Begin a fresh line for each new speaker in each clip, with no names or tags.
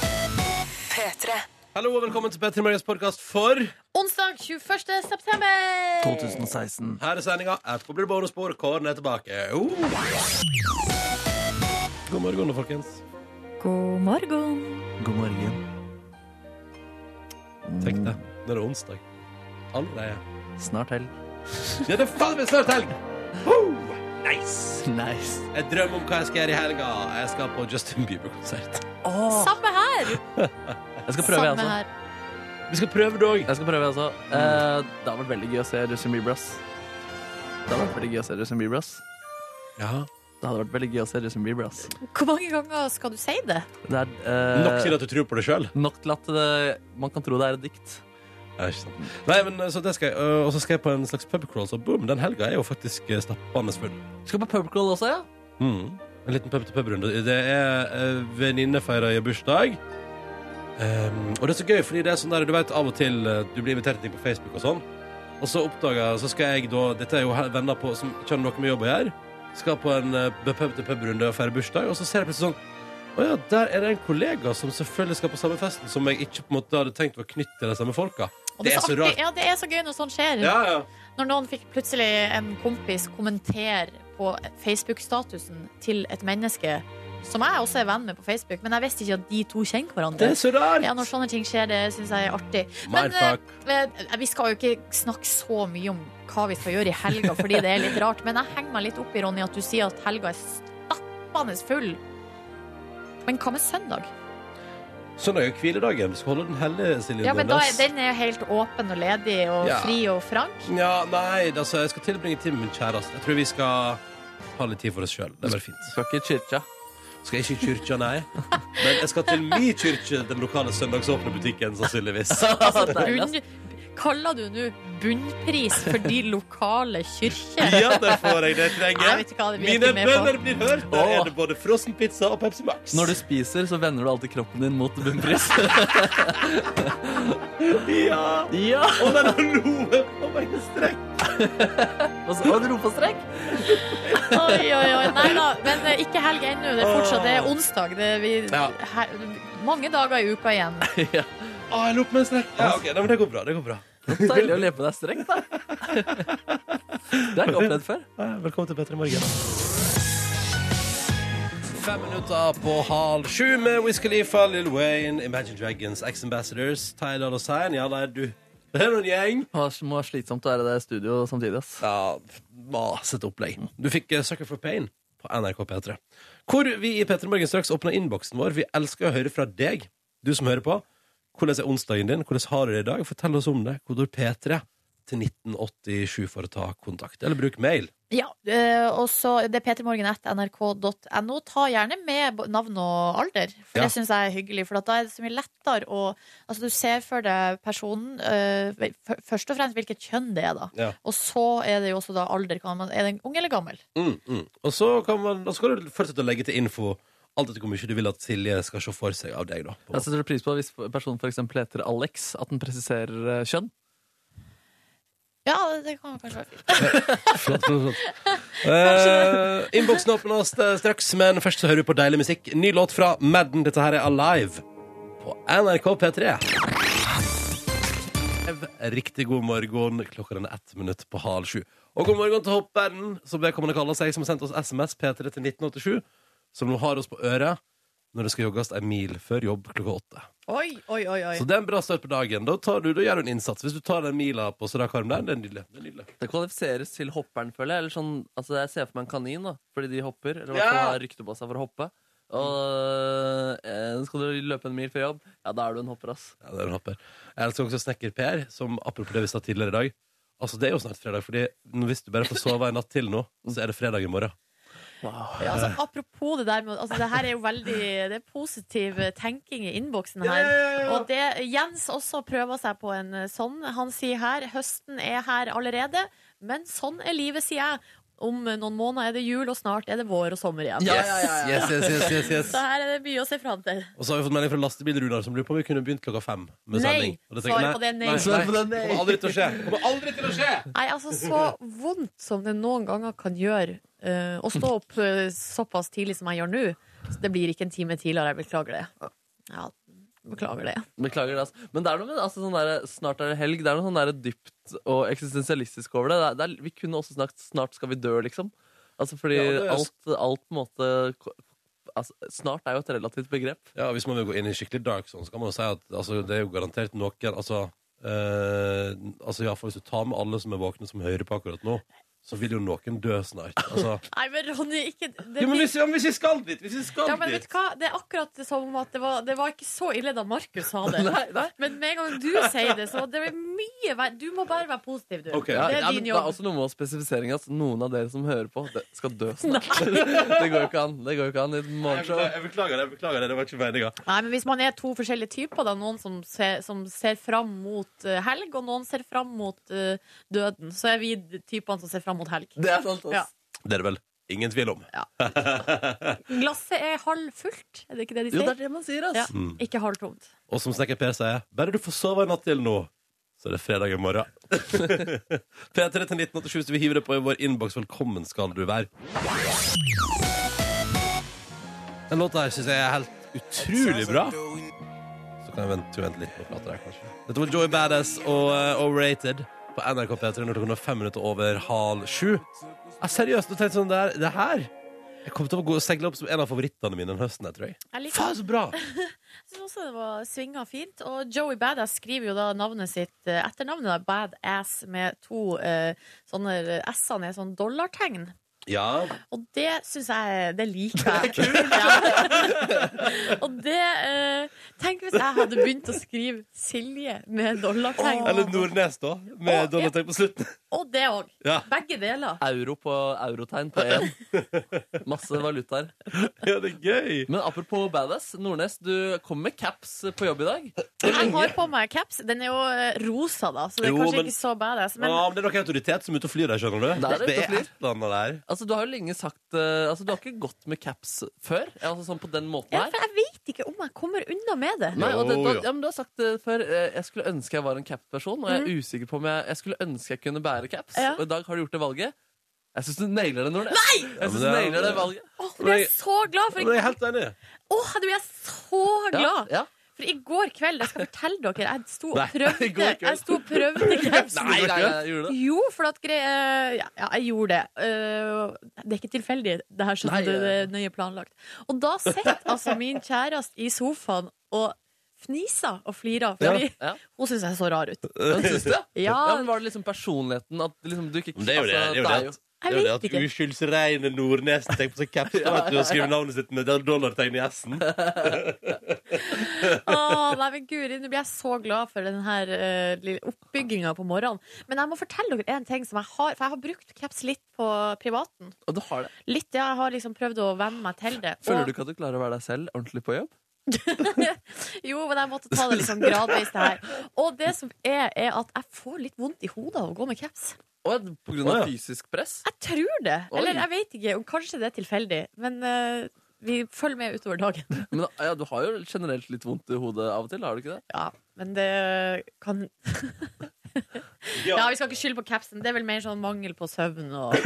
P3.
Hallo og velkommen til Petter Morgens podkast for
Onsdag 21. september!
2016.
Her er sendinga. Etterpå blir det bonusspor. Kåren er tilbake. Oh. God morgen, folkens.
God morgen.
God morgen.
Tenk det. Nå er det onsdag. Allerede.
Snart helg.
Ja, det er faen meg snart helg! Woo! Nice.
Nice.
Jeg drømmer om hva jeg skal gjøre i helga. Jeg skal på Justin Bieber-konsert.
Samme her!
Jeg skal prøve, jeg
Samme
altså.
her.
Vi skal prøve det òg.
Jeg skal prøve, jeg altså. Eh, det har vært veldig gøy å se Justin Bieber, ass. Det hadde vært veldig gøy å se Justin Bieber, ass.
Ja.
Det hadde vært veldig gøy å se Justin Bieber, ass.
Hvor mange ganger skal du si det?
Det er eh,
Nok til at du tror på det sjøl.
nok til at det, man kan tro det er et dikt.
Ja, ikke sant. Nei, men så det skal jeg øh, Og så skal jeg på en slags pubcrawl, så boom, den helga er jo faktisk øh, stappende full.
Skal på pubcrawl også, ja?
Mm. En liten pub-til-pub-runde. Det er øh, venninne feirer bursdag. Ehm, og det er så gøy, fordi det er sånn der, du vet av og til øh, du blir invitert til ting på Facebook og sånn. Og så oppdager jeg, så skal jeg da Dette er jo he- venner på, som ikke har noe med jobb å gjøre. Skal på en øh, pub-til-pub-runde og feire bursdag, og så ser jeg plutselig sånn å ja, der er det en kollega som selvfølgelig skal på samme festen, som jeg ikke på en måte hadde tenkt var knyttet til de samme folka.
Og
Det er så
artig.
rart.
Ja, det er så gøy når sånt skjer.
Ja, ja.
Når noen fikk plutselig en kompis kommentere på Facebook-statusen til et menneske som jeg også er venn med på Facebook, men jeg visste ikke at de to kjenner
Det
hverandre.
er så rart!
Ja, Når sånne ting skjer, det syns jeg er artig. Men eh,
Mindfuck.
eh, vi skal jo ikke snakke så mye om hva vi skal gjøre i helga, fordi det er litt rart. Men jeg henger meg litt opp i Ronny, at du sier at helga er stappende full. Men hva med søndag?
Søndag Sånn er jo hviledagen. Du skal holde den hellige, Silje
Ja, men da er,
Nordnes.
Den er jo helt åpen og ledig og
Ja.
fri og frank.
Ja, nei, altså, jeg skal tilbringe tid med min kjæreste. Jeg tror vi skal ha litt tid for oss sjøl. Det er bare fint.
Skal ikke i kirka.
Skal ikke i kyrkja, nei. Men jeg skal til min kyrkje, den lokale søndagsåpne butikken, sannsynligvis.
Deilig, ass.
Bunn, Altså, kaller du nå bunnpris for de lokale kirker?
Ja, der får jeg det
Nei,
jeg trenger.
vet du hva, det blir jeg
Mine
ikke med
bønner blir hørt. Der
Åh.
er det både frossenpizza og Pepsi Max.
Når du spiser, så vender du alltid kroppen din mot bunnpris.
Ja!
ja!
Og den har noe på meg strekk.
Og så og en ropestrek.
på. Oi, oi, oi. Nei da, men eh, ikke helg ennå. Det er fortsatt det er onsdag. Det er vi,
Ja.
her, mange dager i uka igjen.
ja.
Å, jeg lå på meg en strekk. Ja, ok, nei, men Det går bra. det går bra.
Deilig å le på deg strekk, da. Det har jeg ikke opplevd før.
Ja, Velkommen til Petter i morgen. Fem minutter på halv sju med Wiz Khalifa, Lill Wayne, Imagine Dragons, Ex Ambassadors, Tyler og Sein. Ja, der du. Det er noen gjeng.
Det må være slitsomt å være i det studio samtidig. ass.
Ja, masete opplegg. Du fikk eh, Sucker for Pain på NRK P3. Hvor vi i Petter i morgen straks åpner innboksen vår. Vi elsker å høre fra deg, du som hører på. Hvordan er onsdagen din? Hvordan har du det i dag? Fortell oss om det. Kodord P3 til 1987 for å ta kontakt. Eller bruk mail.
Ja, eh, og så det er ptmorgen.nrk.no. Ta gjerne med bo- navn og alder, for
Ja.
det syns jeg er hyggelig. For at da er det så mye lettere å Altså, du ser for deg personen, eh, f- først og fremst hvilket kjønn det er, da.
Ja.
Og så er det jo også da alder. Kan man, er den ung eller gammel?
Mm, mm. Og så kan man, da skal du fortsette å legge til info alt etter hvor mye du vil at Silje skal se for seg av deg. da på.
Jeg setter pris på hvis personen for eksempel heter Alex, at den presiserer eh, kjønn.
Ja, det kan kanskje være fint.
Flott, flott, flott. Eh, Innboksen åpnes eh, straks, men først så hører du på deilig musikk. Ny låt fra Madden. Dette her er Alive på NRK P3. Riktig god morgen. Klokka den er ett minutt på halv sju. Og god morgen til Hopperen, som vedkommende kaller seg, som har sendt oss SMS P3 til 1987, som nå har oss på øret når det skal jogges ei mil før jobb klokka åtte.
Oi, oi, oi. oi.
Så det er en bra start på dagen. Da, tar du, da gjør du en innsats. Hvis du tar den mila på strak arm der, det er nydelig. Det er nydelig.
Det kvalifiseres til hopperen, føler jeg. Eller sånn, altså jeg ser for meg en kanin, da, fordi de hopper. Eller i
Ja.
hvert fall har rykte på seg for å hoppe. Og eh, skal du løpe en mil før jobb, ja, da er du en hopper, ass.
Ja, det er en hopper. Jeg elsker også Snekker Per, som apropos det vi sa tidligere i dag. Altså, Det er jo snart fredag, fordi nå- hvis du bare får sove en natt til nå, så er det fredag i morgen.
Ja, altså, apropos det der med altså, Det her er jo veldig Det er positiv eh, tenking i innboksen her. Og det, Jens også prøver seg på en eh, sånn. Han sier her høsten er her allerede, men sånn er livet, sier jeg. Om eh, noen måneder er det jul, og snart er det vår og sommer igjen.
Yes, yes, yes, yes, yes, yes.
Så her er det mye å se fram til.
Og så har vi fått melding fra lastebil-Runar som lurer på om vi kunne begynt klokka fem. med
Nei.
sending. Og tenker jeg,
Svaret på det er nei.
Svaret på det er
Det
nei.
kommer aldri til å skje. Det kommer aldri til å skje!
Nei, altså Så vondt som det noen ganger kan gjøre eh, å stå opp eh, såpass tidlig som jeg gjør nå, Så det blir ikke en time tidligere. Jeg beklager det. Ja, beklager det.
Beklager det, altså. Men det er noe med det, altså, sånn der, snart er det helg. Det er noe sånn der dypt og eksistensialistisk over det. det, er, det er, vi kunne også snakket 'snart skal vi dø', liksom. Altså fordi
Ja, det er-
alt, alt på en måte ko- altså, Snart er jo et relativt begrep.
Ja, Hvis man vil gå inn i skikkelig dark zone, så kan man jo si at altså, det er jo garantert noen altså, eh, altså ja, for Hvis du tar med alle som er våkne, som hører på akkurat nå, så vil jo noen dø snart. Altså,
Nei, men Ronny, ikke det
jo, men
blir-
hvis, ja, men hvis vi skal dit! Hvis vi skal
ja, men vet
dit!
du hva? Det er akkurat som at det var, det var ikke så ille da Markus sa det.
Nei, nei.
Men med en gang du sier det, så det er mye verre. Du må bare være positiv, du.
Ok.
Ja,
Det er
ja, men
din
det er
jobb.
også noe med spesifiseringa at noen av dere som hører på, det skal dø snart. det går jo ikke an. Det går jo ikke an i et
Jeg
morgenshow.
beklager, jeg beklager det, jeg beklager det, det var ikke meninga.
Nei, men Hvis man er to forskjellige typer, da, noen som ser, som ser fram mot eh, helg, og noen ser fram mot eh, døden, så er vi de typene som ser fram mot helg.
Det er sant, ass.
Ja.
Det er det vel ingen tvil om.
Glasset er halvfullt, er det ikke det de
Jo,
sier?
det Mm. er det man sier, ass.
Ja, Ikke halvtomt.
Og som snekker Per sier, bare du får sove en natt til nå, så er det fredag i morgen. P3 til 1987, så vi hiver det på i vår innboks. Velkommen skal du være. Den låta her syns jeg er helt utrolig bra. Så kan jeg vente, vente litt på plata der, kanskje. Dette var Joy Badass og eh, Overrated på NRK P3 når klokka er fem minutter over halv sju. Ja, seriøst, du tenkte sånn der, det her Jeg kommer til å gå og segle opp som en av favorittene mine den høsten, jeg tror jeg.
Jeg liker
Faen, så bra!
Jeg synes også det var svinga fint. Og Joey Badass skriver jo da navnet sitt eh, etternavnet, da, Badass, med to eh, sånne eh, S-ene er sånn dollartegn.
Ja,
Og det syns jeg eh, Det liker jeg. Ja. Og det eh, Tenk hvis jeg hadde begynt å skrive Silje med dollartegn.
Eller Nordnes, da, med
Å,
dollartegn på slutten.
Og det òg.
Ja.
Begge deler.
Euro på eurotegn på én. Masse valutaer.
ja, det er gøy!
Men apropos badass, Nordnes, du kom med caps på jobb i dag.
Jeg har på meg caps. Den er jo eh, rosa, da, så det er
Jo,
kanskje
men-
ikke så badass.
Men,
Men
ja, men det er noe autoritet som er ute og flyr der, skjønner du.
Der er det
det
ute
er
og flyr.
et eller annet der.
Altså, Du har jo lenge sagt eh, Altså, du har ikke gått med caps før. Altså sånn på den måten
ja,
her.
for jeg vet ikke om jeg kommer unna med det.
Nei, og det,
Jo,
da,
jo.
ja, men Du har sagt det før. eh, Jeg skulle ønske jeg var en cap-person. Og jeg er usikker på om jeg, jeg skulle ønske jeg kunne bære caps.
Mhm. Ja.
Og i dag har du gjort det valget. Jeg syns du nailer det, Nordnes. Nei! Jeg
Ja,
synes du
men det er-
nailer det valget.
Åh, for jeg er så glad for
Men jeg er helt enig.
Åh, du jeg er så glad!
Ja, ja.
For i går kveld, jeg skal fortelle dere, jeg sto og
Nei, i går
prøvde,
kveld.
jeg sto og prøvde krepsen.
Nei, nei, nei, jeg gjorde det.
Jo, for at gre... eh, Ja, ja, jeg gjorde det. Eh, Det er ikke tilfeldig, det her sånn
Nei,
det, det
ja.
er nøye planlagt. Og da sitter altså min kjæreste i sofaen og fniser og flirer, fordi
Ja.
hun syns jeg så rar ut.
Men syns du det?
Ja,
Ja, men Var det liksom personligheten at liksom, du ikke
Men det er jo det.
altså,
Det er jo det. at- Det
jeg
er jo
vet
det at
ikke.
uskyldsreine Nordnesen tenker på seg caps da, vet du, og skriver navnet sitt med dollartegn i S-en.
Åh, nei, men Guri, nå blir jeg så glad for den her eh, lille oppbygginga på morgenen. Men jeg må fortelle dere en ting som jeg har, for jeg har brukt caps litt på privaten.
Og du har det.
Litt, ja, jeg har liksom prøvd å venne meg til det.
Føler
Og-
du ikke at du klarer å være deg selv ordentlig på jobb?
Jo, men jeg måtte ta det liksom gradvis, det her. Og det som er, er at jeg får litt vondt i hodet av å gå med caps.
Og på grunn av
Å, ja.
fysisk press?
Jeg tror det.
Oi.
Eller jeg vet ikke, og kanskje det er tilfeldig. Men eh, vi følger med utover dagen.
Men ja, Du har jo generelt litt vondt i hodet av og til, har du ikke det?
Ja, men det kan Ja, vi skal ikke skylde på capsen. Det er vel mer sånn mangel på søvn og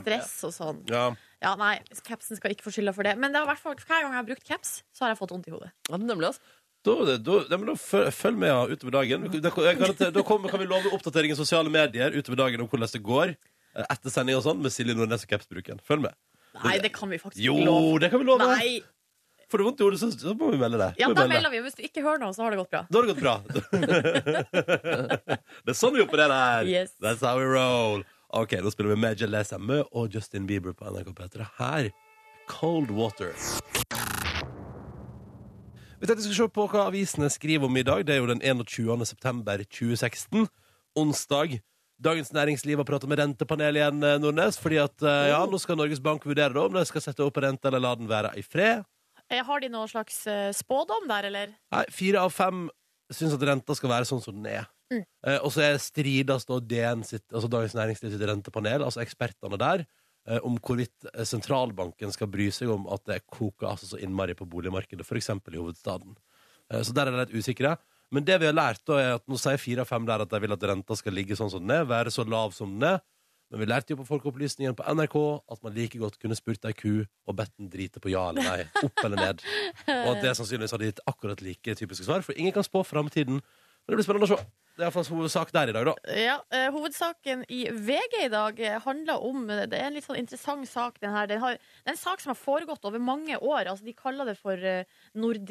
stress og sånn.
Ja.
Ja, nei, capsen skal ikke få skylda for det. Men det har i hvert fall, hver gang jeg har brukt caps, så har jeg fått vondt i hodet.
Ja, nemlig, altså.
Da, da, ja, men da føl- følg med ja, utover dagen. Da, jeg garanter- da kommer, kan vi love oppdatering i sosiale medier utover dagen om hvordan det går eh, etter sending og sånn med Silje Nordnes og capsbruken. Følg med.
Nei, det kan vi faktisk
Jo,
ikke love.
det kan vi love.
Nei,
Får du vondt i hodet, så, så må vi melde det.
ja,
Må vi
da
melde.
melder vi. Hvis du ikke hører noe, så har det gått bra.
Da har det gått bra. det er sånn vi opererer her.
Yes.
That's how we roll. Ok, Nå spiller vi Major Lazer Mø og Justin Bieber på NRK P3. Her Cold Water. Vi tenkte vi skulle se på hva avisene skriver om i dag. Det er jo den 21. september 2016. Onsdag. Dagens Næringsliv har pratet med rentepanelet igjen, eh, Nordnes. fordi at, eh, ja,
Oh.
nå skal Norges Bank vurdere da om de skal sette opp renta eller la den være i fred.
Eh, Har de noen slags eh, spådom der, eller?
Nei, fire av fem syns at renta skal være sånn som den er. Eh, og så er strides da DN sitt, altså Dagens Næringsliv sitt rentepanel, altså ekspertene der, eh, om hvorvidt eh, sentralbanken skal bry seg om at det koker altså så innmari på boligmarkedet, f.eks. i hovedstaden. Eh, så der er de litt usikre. Men det vi har lært, da, er at nå sier fire av fem der at de vil at renta skal ligge sånn som den er, være så lav som den er. Men vi lærte jo på Folkeopplysningen på NRK at man like godt kunne spurt ei ku og bedt den drite på ja eller nei, opp eller ned. Og at det sannsynligvis hadde gitt akkurat like typiske svar, for ingen kan spå framtiden. Men det blir spennende å se. Det er iallfall hovedsak der i dag, da.
Ja, eh, Hovedsaken i VG i dag eh, handler om Det er en litt sånn interessant sak. Den her. Den har, det er en sak som har foregått over mange år. Altså, de kaller det for eh,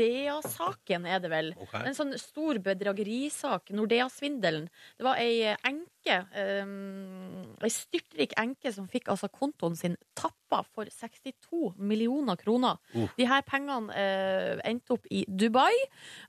Nordea-saken, er det vel.
Ok.
Det er En sånn stor bedragerisak. Nordea-svindelen. Det var ei eh, enke, um, ei styrtrik enke, som fikk altså kontoen sin tappa for 62 millioner kroner.
Uh.
De her pengene eh, endte opp i Dubai.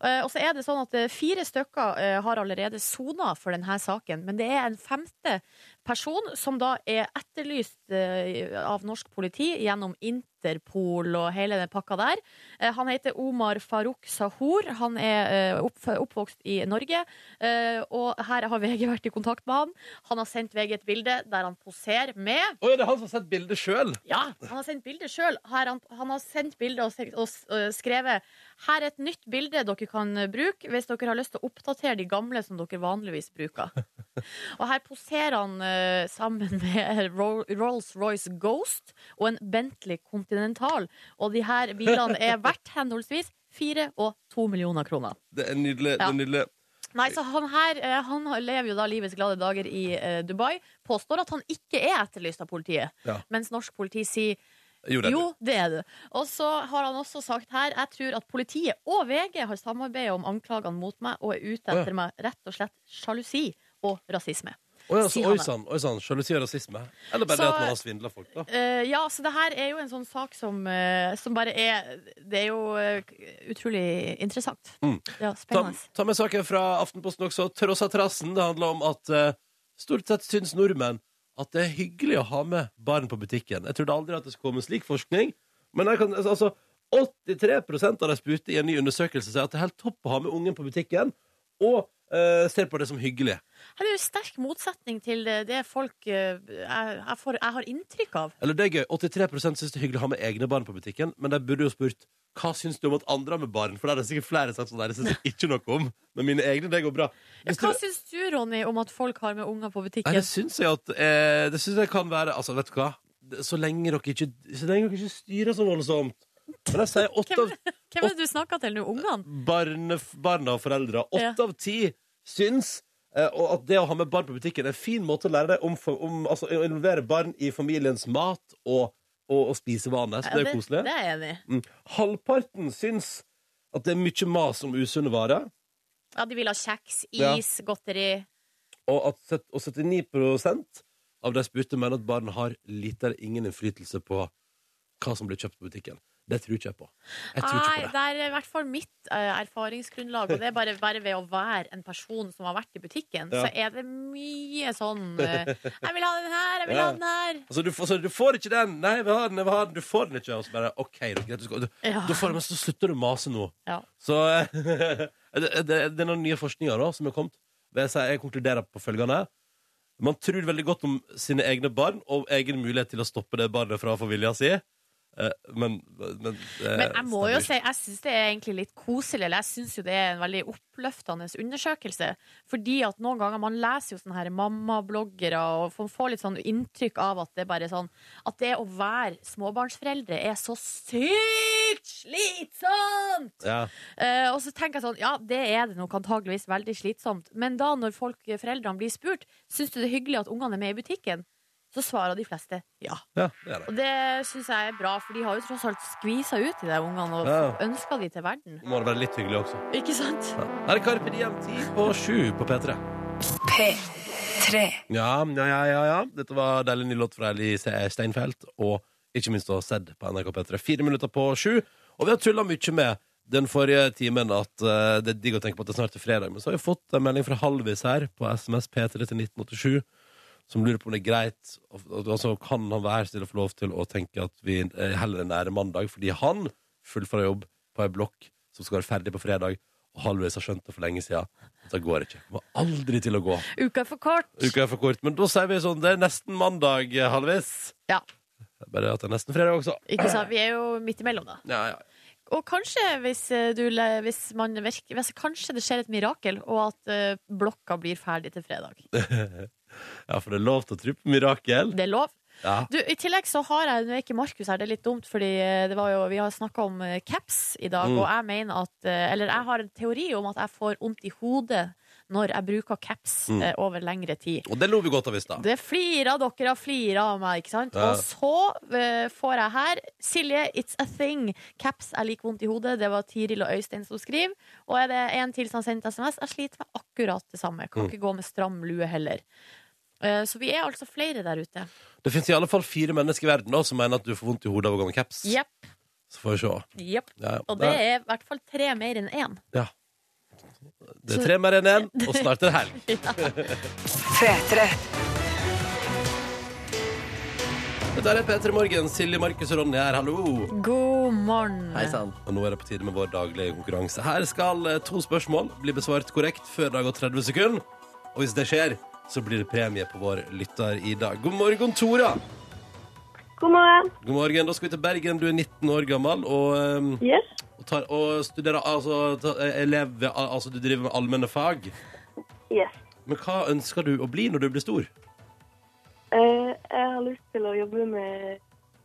Eh, og så er det sånn at eh, fire stykker eh, har allerede sona for denne saken, men det er en femte person som da er etterlyst eh, av norsk politi gjennom Interpol og hele den pakka der. Eh, han heter Omar Farouk Sahor. Han er eh, opp, oppvokst i Norge, eh, og her har VG vært i kontakt med han. Han har sendt VG et bilde der han poserer med
Å ja, det er han som har sett bildet sjøl!
ja, han har sendt bilde sjøl. Han, han har sendt bilde og, se- og s- og skrevet Her er et nytt bilde dere kan eh, bruke hvis dere har lyst til å oppdatere de gamle som dere vanligvis bruker. Og her poserer han eh, sammen med Ro- Rolls-Royce Ghost og en Bentley Continental. Og de her bilene er verdt henholdsvis fire og to millioner kroner.
Det er nydelig. det
Ja.
er nydelig
Nei, så han her eh, han lever jo da livets glade dager i eh, Dubai. Påstår at han ikke er etterlyst av politiet,
Ja.
mens norsk politi sier
Jo, det er
jo, det er du. Og så har han også sagt her Jeg tror at politiet og VG har samarbeidet om anklagene mot meg og er ute
Å, ja.
etter meg rett og slett sjalusi og rasisme.
det. Å ja, så,
sier han
oi
det.
sann. oi sann, Sjalusi og rasisme. Eller bare
Så-
det at man har svindla folk, da.
Eh, ja, så det her er jo en sånn sak som, eh, som bare er Det er jo eh, utrolig interessant.
Mm.
Ja,
Ta,
spennende.
ta med saken fra Aftenposten også. Tross av trassen. Det handler om at eh, stort sett syns nordmenn at det er hyggelig å ha med barn på butikken. Jeg trodde aldri at det skulle komme slik forskning. Men jeg kan, altså, 83 av de spurte i en ny undersøkelse sier at det er helt topp å ha med ungen på butikken. Og eh, ser på det som hyggelig.
Her er jo sterk motsetning til det, det folk eh, jeg, jeg, får, jeg har inntrykk av.
Eller det er gøy, 83 syns det er hyggelig å ha med egne barn på butikken, men de burde jo spurt hva syns du om at andre har med barn? For da er det sikkert flere som har sagt sånn der, det syns jeg ikke noe om. Men mine egne, det går bra. Hvis du-
Hva syns du, Ronny, om at folk har med unger på
Nei, det
butikken?
syns jeg at eh, Det syns jeg kan være Altså, vet du hva? Det- Så lenge dere ikke, så lenge dere ikke styrer så voldsomt. Men jeg sier åtte av
Hvem er det du snakker til nå? Ungene?
barne, barna og foreldra. Åtte
Ja.
av ti syns eh, og at det å ha med barn på butikken er en fin måte å lære deg om, for- om altså, å involvere barn i familiens mat og, og, og spisevaner. Så det er jo koselig.
Det er jeg enig i.
Mm. Halvparten syns at det er mye mas om usunne varer.
Ja, de vil ha kjeks, is,
Ja.
godteri.
Og, at, set- og 79 av de spurte mener at barn har lite eller ingen innflytelse på hva som blir kjøpt på butikken. Det tror ikke jeg på. Jeg tror
Nei,
ikke på det.
det er i hvert fall mitt eh, erfaringsgrunnlag. Og det er bare, bare ved å være en person som har vært i butikken,
Ja.
så er det mye sånn eh, 'Jeg vil ha den her, jeg vil
Ja.
ha den her'.
Altså, du, får- så du får ikke den! Nei, vi har den, vi har den. Du får den ikke. Og så bare OK, det er greit. Du skal, du,
Ja.
da får du, men så slutter du å mase nå.
Ja.
Så det, det, det er noen nye forskninger da, som er kommet. Det jeg sier- Jeg konkluderer på følgende. Man tror veldig godt om sine egne barn og egen mulighet til å stoppe det barnet fra å få vilja si. Eh, Men, men, eh,
Men jeg må
stemmer
jo
ikke.
si, jeg syns det er egentlig litt koselig. Eller jeg syns jo det er en veldig oppløftende undersøkelse. Fordi at noen ganger man leser jo sånne her mammabloggere og får- får litt sånn inntrykk av at det bare er sånn At det å være småbarnsforeldre er så sykt slitsomt!
Ja.
Eh, og så tenker jeg sånn, ja, det er det nok antageligvis veldig slitsomt. Men da når folk, foreldrene blir spurt, syns du det er hyggelig at ungene er med i butikken? Så svarer de fleste ja.
ja, det er det.
Og det syns jeg er bra, for de har jo tross alt skvisa ut de der ungene og
Ja.
ønska de til verden.
Må det være litt hyggelig også.
Ikke sant?
Ja. Her er Carpe Diem 10 på 7 på P3.
P3.
Ja, ja, ja, ja, ja. Dette var deilig ny låt fra Elise Steinfeld, og ikke minst da Sedd på NRK P3. Fire minutter på sju. Og vi har tulla mye med den forrige timen at eh, det er digg å tenke på at det snart er fredag. Men så har vi fått en melding fra Halvis her på SMS P3 til 1987, som lurer på om det er greit og- og- Altså, kan han være så snill å få lov til å tenke at vi eh, heller er nære mandag, fordi han fullfører jobb på ei blokk som skal være ferdig på fredag, og Halvis har skjønt det for lenge siden. Det går ikke. Det kommer aldri til å gå.
Uka er for kort.
Uka er for kort, men da sier vi sånn Det er nesten mandag, eh, halvvis.
Ja.
Bare at det er nesten fredag også.
Ikke sant? Vi er jo midt imellom, da.
Ja, ja.
Og kanskje, hvis, eh, du, le- hvis man virker, hvis kanskje det skjer et mirakel, og at eh, blokka blir ferdig til fredag.
Ja, for det er lov til å tro på mirakel.
Det er lov.
Ja.
Du, I tillegg så har jeg Nå er ikke Markus her, det er litt dumt, fordi eh, det var jo, vi har snakka om eh, caps i dag,
Mm.
og jeg mener at eh, Eller jeg har en teori om at jeg får vondt i hodet når jeg bruker caps
Mm.
eh, over lengre tid.
Og det lo vi godt av i stad.
Det flirer dere har flira av meg, ikke sant?
Ja.
Og så eh, får jeg her Silje, it's a thing. Caps er like vondt i hodet. Det var Tiril og Øystein som skriver. Og er det en til som har sendt SMS, jeg sliter med akkurat det samme. Kan
Mm.
ikke gå med stram lue heller. Eh, så vi er altså flere der ute.
Det fins i alle fall fire mennesker i verden da, som mener at du får vondt i hodet av å gå med caps.
Jepp.
Så får vi se.
Jepp.
Ja,
Og det er i hvert fall tre mer enn én.
ja. Det er tre mer enn én, og snart er det helg.
P3.
Dette er P3 Morgen. Silje, Markus og Ronny her, hallo.
God morgen.
Hei sann.
Og nå er det på tide med vår daglige konkurranse. Her skal eh, to spørsmål bli besvart korrekt før det har gått 30 sekunder. Og hvis det skjer, så blir det premie på vår lytter i dag. God morgen, Tora.
God morgen.
God morgen. Da skal vi til Bergen. Du er 19 år gammel og, ehm,
Yes.
og, tar, og studerer altså, ta, elev, ved- al- altså du driver med allmenne fag.
Yes.
Men hva ønsker du å bli når du blir stor?
Eh, jeg har lyst til å jobbe med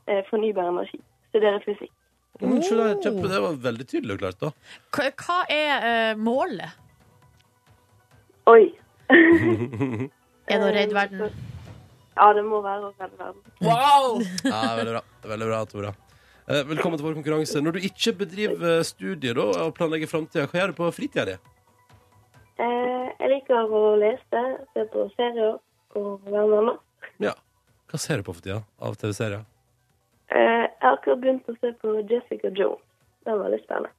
eh, fornybar energi. Studere fysikk.
Men se der, kjempe, det var veldig tydelig og klart, da.
Hva hva er eh, målet?
Oi. Eh,
Er det å redde verden?
Ja, det må være å redde verden.
Wow!
Ja, veldig bra, veldig bra Tora. Eh, Velkommen til vår konkurranse. Når du ikke bedriver eh, studier da, og planlegger framtida, hva gjør du på fritida di?
Eh, jeg liker å lese, se på serier og være mamma.
Ja. Hva ser du på for tida av TV-serier?
Eh, jeg har akkurat begynt å se på Jessica Jones. Den var litt spennende.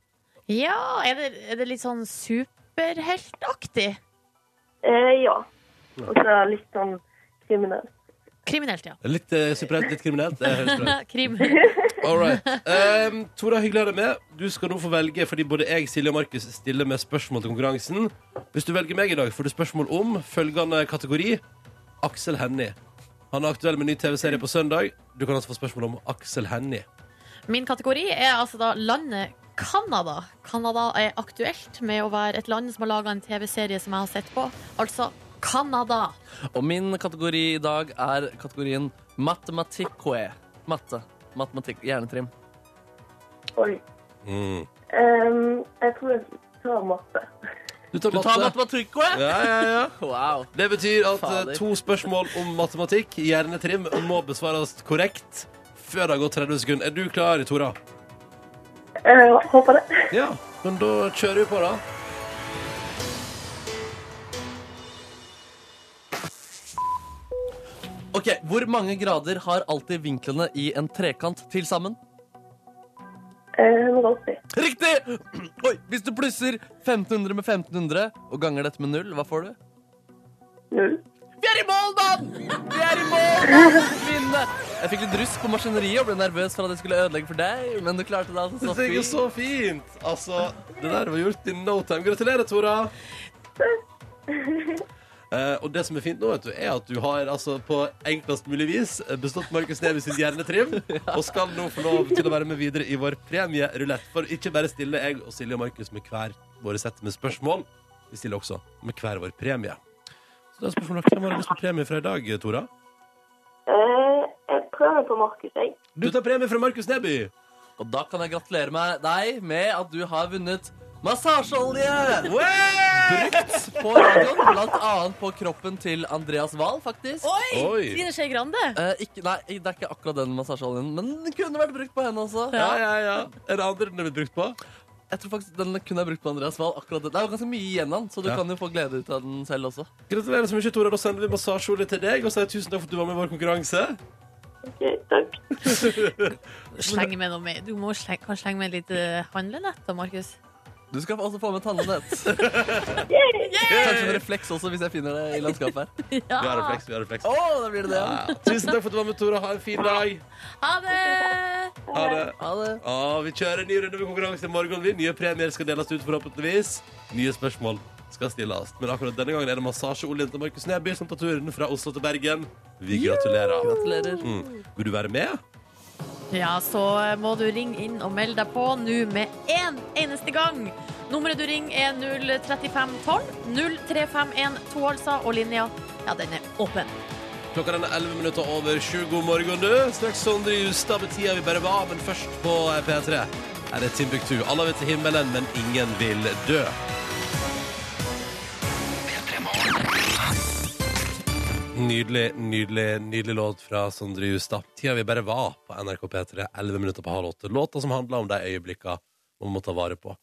Ja, er det, er det litt sånn superheltaktig?
Eh, ja. Og så litt sånn kriminell.
Kriminelt, ja.
Litt eh, superhelt, litt kriminelt? Det høres bra ut.
Krim.
All right. Em, Tora, hyggelig å ha deg med. Du skal nå få velge, fordi både jeg, Silje og Markus stiller med spørsmål til konkurransen. Hvis du velger meg i dag, får du spørsmål om følgende kategori Aksel Hennie. Han er aktuell med ny TV-serie på søndag. Du kan altså få spørsmål om Aksel Hennie.
Min kategori er altså da landet Canada. Canada er aktuelt med å være et land som har laga en TV-serie som jeg har sett på. Altså Canada.
Og min kategori i dag er kategorien matematikkue. Matte. Matematikk. Hjernetrim.
Oi.
Mm.
Eh, jeg tror jeg tar matte.
Du tar
Du tar E?
matte.
matematikkue!
Ja, ja, ja.
Wow.
Det betyr at eh,
Fader.
to spørsmål om matematikk, hjernetrim, må besvares korrekt før det har gått 30 sekunder. Er du klar, Tora?
Eh, håper det.
Ja. Men da kjører vi på, da.
Ok, Hvor mange grader har alltid vinklene i en trekant til sammen?
Eh, 180.
Riktig! Oi, Hvis du plusser 1500 med 1500 og ganger dette med null, hva får du?
Null.
Vi er i mål, mann! Vi er i mål, mann! Vinne! Jeg fikk litt rusk på maskineriet og ble nervøs for at jeg skulle ødelegge for deg, men du klarte det. altså
Det
så
er jo
fint.
så fint! Altså, det der var gjort i no time. Gratulerer, Tora. Eh, og det som er fint nå, vet du, er at du har altså, på enklest mulig vis eh, bestått Markus Neby sin hjernetrim, og skal nå få lov til å være med videre i vår premierulett. For ikke bare stiller jeg og Silje og Markus med hver våre sett med spørsmål, vi stiller også med hver vår premie. Så da er spørsmålet hvem har du lyst på premie fra i dag, Tora?
Eh, jeg prøver på Markus, jeg.
Du tar premie fra Markus Neby!
Og da kan jeg gratulere meg deg med at du har vunnet massasjeolje! Brukt på radioen, blant annet på kroppen til Andreas Wahl, faktisk.
Oi!
Oi.
Trine Skei Grande.
Eh, ikke, nei, det er ikke akkurat den massasjeoljen, men den kunne vært brukt på henne også.
Ja, ja, ja. Er det andre den er blitt brukt på?
Jeg tror faktisk den kunne jeg brukt på Andreas Wahl. akkurat den. Det er jo ganske mye igjen av den, så du
Ja.
kan jo få glede ut av den selv også.
Gratulerer så mye, Tora. Da sender vi massasjeolje til deg og sier tusen takk for at du var med i vår konkurranse.
Ok, takk.
Sleng med noe mer. Du må sleng, kan slenge med et lite handlenett da, Markus.
Du skal også få med tannlenett. Kanskje en refleks også, hvis jeg finner det i landskapet her.
Vi har refleks, vi har refleks.
Å, da blir det det. ja.
Ja. Tusen takk for at du var med, Tora. Ha en fin dag.
Ha det!
Ha det.
Ha det.
Å, vi kjører en ny runde med konkurranse i morgen. Vi. Nye premier skal deles ut, forhåpentligvis. Nye spørsmål skal stilles. Men akkurat denne gangen er det massasjeoljen til Markus Neby som tar turen fra Oslo til Bergen. Vi gratulerer.
Gratulerer.
Mm. Vil du være med?
Ja, så må du ringe inn og melde deg på nå med én eneste gang. Nummeret du ringer er 03512, 0351 altså, og linja Ja, den er åpen.
Klokka den er 11 minutter over 7. God morgen, du. Straks Sondre Justad med tida vi bare var, men først på P3 er det Timbuktu. Alle vil til himmelen, men ingen vil dø. Nydelig, nydelig, nydelig låt fra Sondre Justad. Tida vi bare var på NRK P3, 11 minutter på halv åtte. Låta som handler om de øyeblikkene man må ta vare på.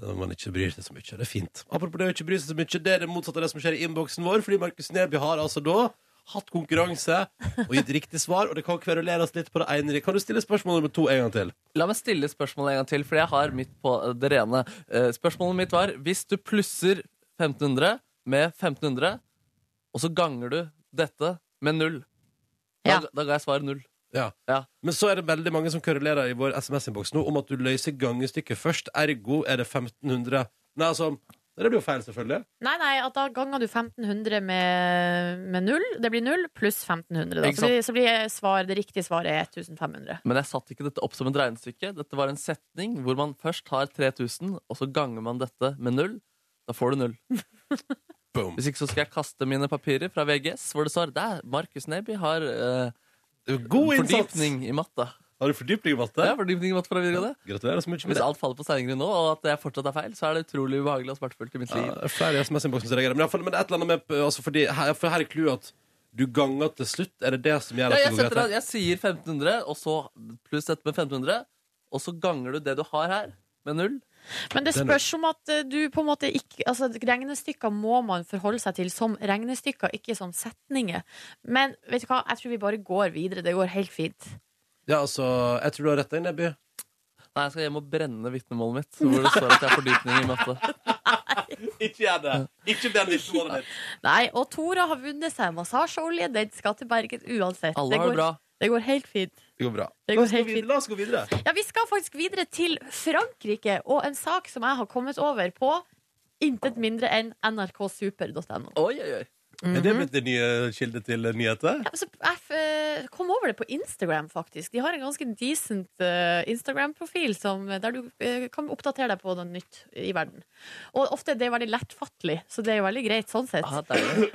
Når man ikke bryr seg så mye. Det er fint. Apropos det å ikke bry seg så mye, det er det motsatte av det som skjer i innboksen vår, fordi Markus Neby har altså da hatt konkurranse og gitt riktig svar, og det kan kveruleres litt på det ene. Kan du stille spørsmål nummer to en gang til?
La meg stille spørsmålet en gang til, for jeg har mitt på det rene. Eh, Spørsmålet mitt var hvis du plusser 1500 med 1500, og så ganger du dette med null, da,
Ja.
da ga jeg svaret null.
Ja.
Ja.
Men så er det veldig mange som kverulerer i vår SMS-innboks nå om at du løser gangestykket først, ergo er det 1500 Nei, altså Det blir jo feil, selvfølgelig.
Nei, nei, at da ganger du 1500 med, med null. Det blir null pluss 1500. Da.
Ikke
Så, blir, så blir svar, det riktige svaret er 1500.
Men jeg satte ikke dette opp som et regnestykke. Dette var en setning hvor man først har 3000, og så ganger man dette med null. Da får du null.
Boom.
Hvis ikke så skal jeg kaste mine papirer fra VGS, hvor det står der, Markus Neby har eh,
God innsats!
fordypning i matte.
Har du fordypning i matte?
Ja, fordypning i matte fra videregående.
Gratulerer så mye med
Hvis
det.
alt faller på steingrunn nå, og at jeg fortsatt er feil, så er det utrolig ubehagelig og smertefullt i mitt
Ja,
liv.
det er flere SMS-innboksen som reagerer. Men, i alle fall- men det er et eller annet med altså fordi, her, For her er clouet at du ganger til slutt. Er det det som gjør
Ja,
at
jeg,
det går
setter, av-
greit?
jeg sier 1500, og så pluss dette med 1500, og så ganger du det du har her, med null.
Men det
Den-
spørs om at eh, du på en måte ikke Altså, regnestykker må man forholde seg til som regnestykker, ikke som setninger. Men vet du hva, jeg tror vi bare går videre. Det går helt fint.
Ja, altså, jeg tror du har rett, deg, Nebby.
Nei, jeg skal hjem og brenne vitnemålet mitt, hvor det står at jeg har fordypning i matte.
Ikke gjør det. Ikke bli nyttig.
Nei, og Tora har vunnet seg massasjeolje. Den skal til Bergen uansett.
Alle har
går,
det bra.
det går helt fint.
Det går bra.
Det
La
går
oss gå
helt
videre.
fint.
La oss gå videre.
Ja, vi skal faktisk videre til Frankrike og en sak som jeg har kommet over på intet mindre enn nrksuper.no.
Oi, oi, oi.
Er det blitt din nye kilde til nyheter?
Ja, altså, jeg f- kom over det på Instagram, faktisk. De har en ganske decent eh, Instagram-profil som- der du eh, kan oppdatere deg på noe nytt i verden. Og ofte er det veldig lettfattelig, så det er jo veldig greit sånn sett.
Ah, deilig.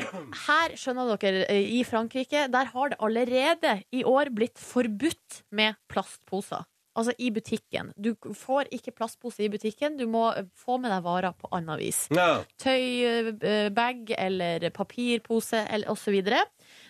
Her, skjønner dere, eh, i Frankrike, der har det allerede i år blitt forbudt med plastposer. Altså i butikken. Du får ikke plastpose i butikken, du må eh, få med deg varer på annet vis
Ja.
tøybag eller papirpose eller osv.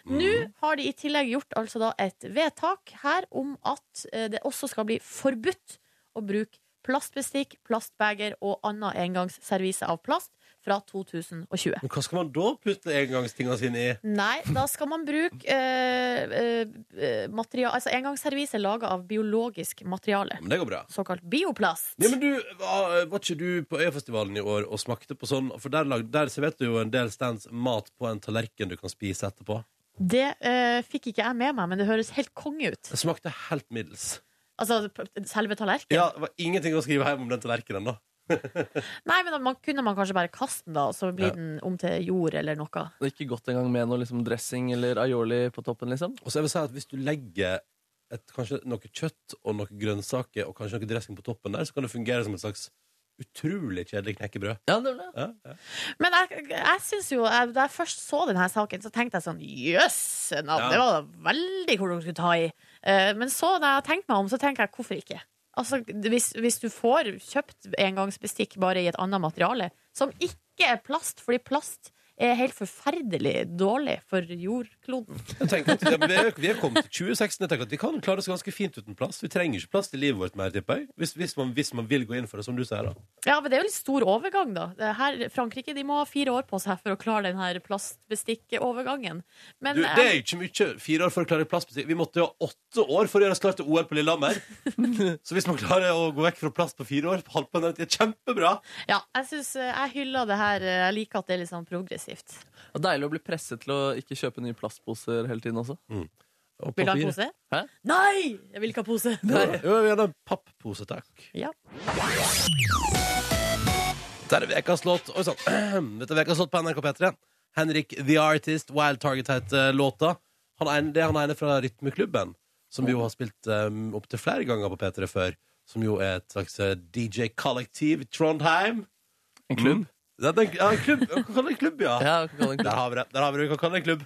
Nå har de i tillegg gjort altså da et vedtak her om at eh, det også skal bli forbudt å bruke plastbestikk, plastbeger og annen engangsservise av plast fra 2020.
Men hva skal man da putte engangstinga sine i?
Nei, da skal man bruke eh, eh, materia- altså engangsservise laga av biologisk materiale.
Men det går bra.
Såkalt bioplast.
Ja, men du, var, var ikke du på Øyafestivalen i år og smakte på sånn? For der, lag, der serverte du jo en del stands mat på en tallerken du kan spise etterpå.
Det eh, fikk ikke jeg med meg, men det høres helt konge ut.
Det smakte helt middels.
Altså p- selve tallerkenen.
Ja, det var ingenting å skrive hjem om den tallerkenen, da.
Nei, men man kunne man kanskje bare kaste den da, og så blir
Ja.
den om til jord eller noe.
Det gikk ikke godt engang med noe liksom, dressing eller aioli på toppen, liksom.
Og så jeg vil si at hvis du legger et, kanskje noe kjøtt og noen grønnsaker og kanskje noe dressing på toppen der, så kan det fungere som et slags utrolig kjedelig knekkebrød.
Ja, det ble. det.
Ja, ja.
Men jeg, jeg synes jo, jeg, da jeg først så denne saken, så tenkte jeg sånn, jøss, navn,
Ja.
det var da veldig hvor de skulle ta i. Eh, men så, da jeg tenkte meg om, så tenker jeg, hvorfor ikke? Altså, hvis, hvis du får kjøpt engangsbestikk bare i et annet materiale, som ikke er plast, fordi plast er helt forferdelig dårlig for jordkloden.
Jeg tenker at ja, men vi, er, vi er kommet til 2016. Jeg tenker at Vi kan klare oss ganske fint uten plast. Vi trenger ikke plast i livet vårt mer, tipper jeg. Hvis, hvis, man, hvis man vil gå inn for det, som du sier, da.
Ja, men det er jo litt stor overgang, da. Det Her, Frankrike de må ha fire år på seg for å klare den her plastbestikkovergangen. Men
Du, det er
eh,
jo ikke mye. Fire år for å klare plastbestikk. Vi måtte jo ha åtte år for å gjøre oss klar til OL på Lillehammer. Så hvis man klarer å gå vekk fra plast på fire år, halv på en rett, det er kjempebra.
ja, jeg synes, eh, jeg hyller det her. eh, Jeg liker at det er litt sånn progressivt.
Og deilig å bli presset til å ikke kjøpe nye plastposer hele tiden også.
Og
Vil du ha en
papir.
pose?
Hæ?
Nei! Jeg vil ikke ha pose.
Ja, ja, gjerne en papppose, takk.
Ja.
Der er ukas låt. Oi sann. Dette er ukas låt på NRK P3. Henrik The Artist, Wild Target heter eh, låta. Han er, det er han ene fra Rytmeklubben, som vi jo har spilt um, opptil flere ganger på P3 før. Som jo er et slags eh, DJ-kollektiv i Trondheim.
En klubb.
Det er en, ja, en klubb. Vi kan kalle det en klubb, ja.
Mm. Ja, kan kalle det en klubb.
Der har vi det. Der har vi det. Vi kan kalle det en klubb.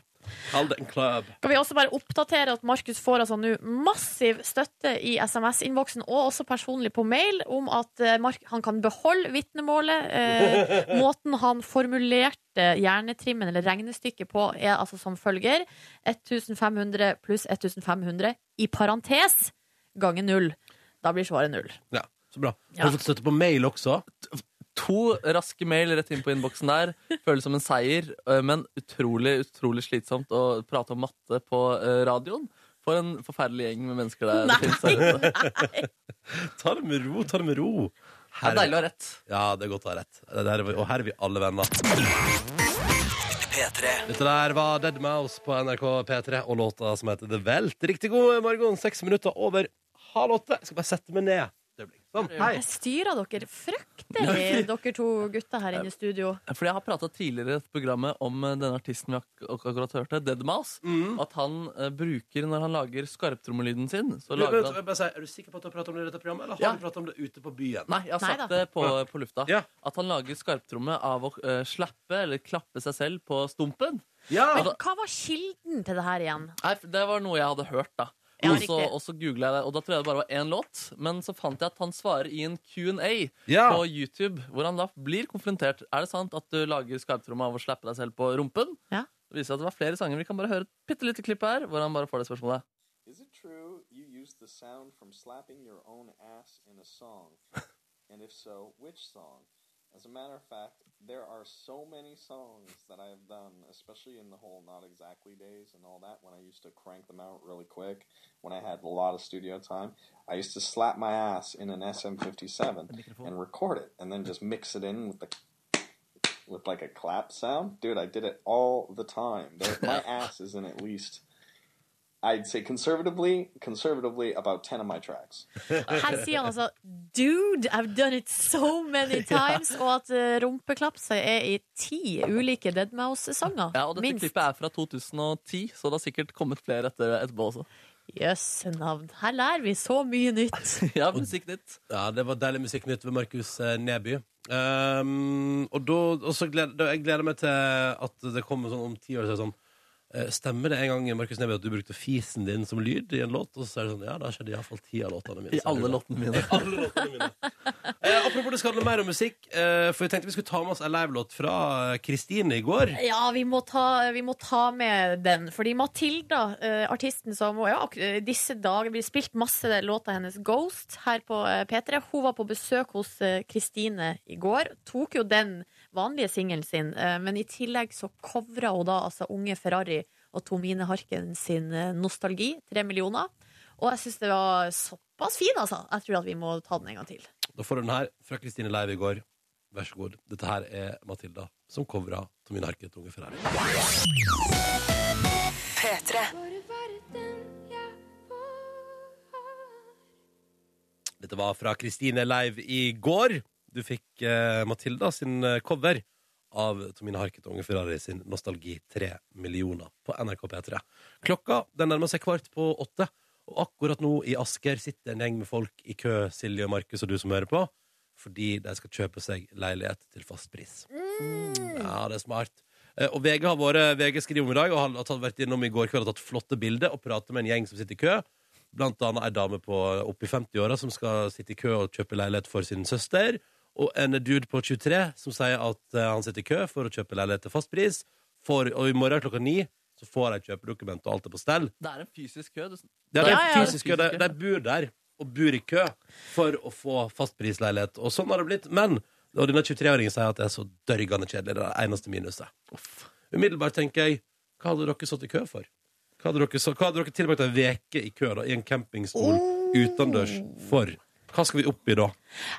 Kall det en klubb.
Kan vi også bare oppdatere at Markus får altså nå massiv støtte i SMS-innboksen og også personlig på mail om at eh, Mark, han kan beholde vitnemålet. Eh, måten han formulerte hjernetrimmen eller regnestykket på er altså som følger 1500 pluss 1500 i parentes ganger null. Da blir svaret null.
Ja, så bra. Har du fått støtte på mail også?
To raske mail rett inn på innboksen der. Føles som en seier, eh, men utrolig utrolig slitsomt å prate om matte på eh, radioen. For en forferdelig gjeng med mennesker der. det finnes der ute.
Ta det med ro, ta det med ro.
Det er deilig å ha rett.
Ja, det er godt å ha rett. Det Der, er vi- og her er vi alle venner. Dette der var Dead Mouse på NRK P3 og låta som heter The Velt. Riktig god morgen, seks minutter over halv åtte. Jeg skal bare sette meg ned. et øyeblikk. Sånn, hei.
Jeg styrer dere fryktelig, dere to gutta her inne i studio.
Fordi Jeg har prata tidligere i dette programmet om eh, denne artisten vi ak ak akkurat hørte, Dead Mouse. At han eh, bruker, når han lager skarptrommelyden sin så
Men,
lager
men,
han...
jeg bare sier, er du sikker på at du har pratet om det i dette programmet, eller har
Ja.
du pratet om det ute på byen?
Nei, jeg har
Nei
sagt
da.
det på, på lufta.
Ja.
At han lager skarptromme av å eh, slappe eller klappe seg selv på stumpen.
Ja!
altså-
Men hva var kilden til det her igjen?
Nei, for Det var noe jeg hadde hørt, da.
Ja,
og så,
riktig.
og så googlet jeg det, og da tror jeg det bare var én låt. Men så fant jeg at han svarer i en Q&A
Ja.
på YouTube, hvor han da blir konfrontert. Er det sant at du lager skarptromme av å slappe deg selv på rumpen?
Ja.
Det viser seg at det var flere sanger. Vi kan bare høre et bitte lite klipp her, hvor han bare får det spørsmålet.
Is it true you used the sound from slapping your own ass in a song? and if so, which song? As a matter of fact, there are so many songs that I have done, especially in the whole not exactly days and all that, when I used to crank them out really quick, when I had a lot of studio time. I used to slap my ass in an SM57 and record it, and then just mix it in with the with like a clap sound. Dude, I did it all the time. There, my ass is in at least I'd say conservatively, conservatively about ten of my tracks.
Her sier han altså 'Dude, I've done it so many times', og at eh, rumpeklapset er i ti ulike Deadmouse-sanger.
Ja, og dette
Minst.
klippet er fra 2010, så det har sikkert kommet flere etter, etterpå også.
Jøsse navn. Her lærer vi så mye nytt.
Ja, musikknytt.
Ja, det var deilig musikknytt ved Markus eh, Neby. Ehm, og da, og så gleder, da, jeg gleder meg til at det kommer sånn om ti år. Så er det sånn, eh, stemmer det en gang Markus Neby, at du brukte fisen din som lyd i en låt? Og så er det sånn, ja, da skjedde iallfall ti av låtene mine. Så
I
er det
alle
bra.
låtene mine.
Alle låtene mine. Eh, apropos det skal handle mer om musikk, eh, for jeg tenkte vi skulle ta med oss en livelåt fra eh, Kristine i går.
Ja, vi må ta, vi må ta med den. Fordi Matilda, eh, artisten som ja, ak- eh, disse dager blir spilt masse låta hennes Ghost her på eh, P3, hun var på besøk hos eh, Kristine i går. Tok jo den vanlige singelen sin, eh, men i tillegg så covra hun da altså Unge Ferrari og Tomine Harken sin eh, Nostalgi, tre millioner. Og jeg syns det var såpass fin, altså. Jeg tror at vi må ta den en gang til.
Da får du den her fra Kristine Leiv i går. Vær så god. Dette her er Matilda som covra Tomine Harket Unge Ferrari.
P3.
Dette var fra Kristine Live i går. Du fikk eh, Matilda sin eh, cover av Tomine Harket og Unge Ferrari sin Nostalgi 3 millioner på NRK P3. Klokka den nærmer seg kvart på åtte, og akkurat nå i Asker sitter en gjeng med folk i kø, Silje og Markus og du som hører på, fordi de skal kjøpe seg leilighet til fast pris. Ja, det er smart. Eh, Og VG har vært, VG skriver om i dag og har tatt, vært innom i går kveld og tatt flotte bilder og pratet med en gjeng som sitter i kø. Blant annet ei dame på oppi 50-åra som skal sitte i kø og kjøpe leilighet for sin søster. Og en dude på 23 som sier at eh, han sitter i kø for å kjøpe leilighet til fast pris. For, og i morgen klokka ni så får de kjøpedokument og alt er på stell.
Det er en fysisk kø. du-
Det er
Ja,
det
ja.
fysiske, de, de bor der og bor i kø for å få fastprisleilighet. Og sånn har det blitt. Men og denne 23-åringen sier at det er så dørgende kjedelig. Det er det eneste minuset. Umiddelbart tenker jeg hva hadde dere stått i kø for? Hva hadde dere, så, hva hadde dere tilbrakt ei uke i kø da, i en campingstol
Oh.
utendørs for? Hva skal vi opp i da?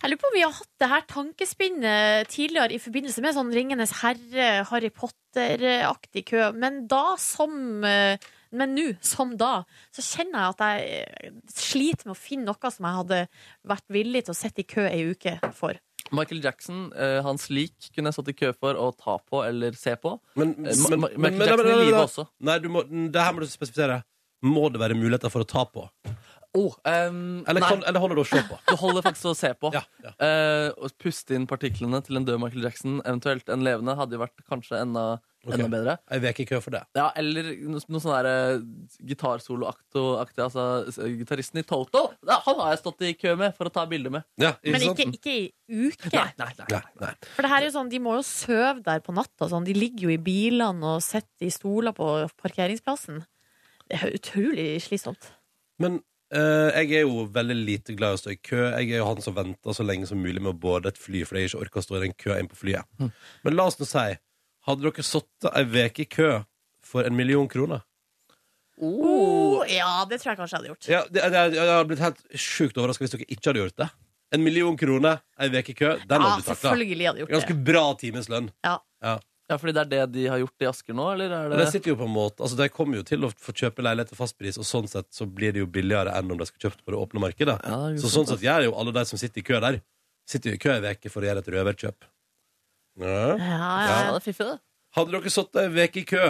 Jeg lurer på om vi har hatt det her tankespinnet tidligere i forbindelse med sånn Ringenes herre, Harry Potter-aktig kø, men da som eh, Men nå som da, så kjenner jeg at jeg eh, sliter med å finne noe som jeg hadde vært villig til å sitte i kø ei uke for.
Michael Jackson, eh, hans lik, kunne jeg stått i kø for å ta på eller se på.
Men,
Eh, Ma- Ma- Michael Jackson i livet også.
Nei, du må, det her må du spesifisere. Må det være muligheter for å ta på?
Oh, ehm,
Eller,
nei,
kan, eller holder det å se på?
du holder faktisk å se på.
Ja, ja.
Eh, og puste inn partiklene til en død Michael Jackson, eventuelt en levende, hadde jo vært kanskje enda,
Ok.
enda bedre.
Ei uke i kø for det.
Ja, eller no- noe sånn der eh, gitarsoloaktig. Altså, s- gitaristen i Toto. Ja, han har jeg stått i kø med for å ta bilde med.
Ja, ikke
Men
sant?
ikke, ikke i uke.
nei, nei.
Nei, nei.
For det her er jo sånn, de må jo søve der på natta. Sånn. De ligger jo i bilene og sitter i stoler på parkeringsplassen. Det er jo utrolig slitsomt.
Men eh, jeg er jo veldig lite glad i å stå i kø. Jeg er jo han som venter så lenge som mulig med å boarde et fly fordi jeg ikke orker å stå i den køa inn på flyet. Men la oss nå si Hadde dere sittet ei uke i kø for en million kroner?
Oh, ja, det tror jeg kanskje jeg hadde gjort.
Ja, det, det, jeg hadde blitt helt sjukt overraska hvis dere ikke hadde gjort det. En million kroner, ei uke i kø, den hadde du takla.
selvfølgelig hadde jeg gjort
Ganske
det.
bra timeslønn.
Ja.
Ja.
Ja, fordi det er det de har gjort i Asker nå, eller er
Men
det
det sitter jo på en måte Altså, De kommer jo til å få kjøpe leilighet til fastpris, og sånn sett så blir det jo billigere enn om de skulle kjøpt på det åpne markedet.
Ja, det er jo
så
sant, altså.
sånn sett gjør jo alle de som sitter i kø der, sitter jo i kø ei uke for å gjøre et røverkjøp. Ja.
Ja, ja,
Ja,
ja.
det er fiffig, det.
Hadde dere sittet ei uke i kø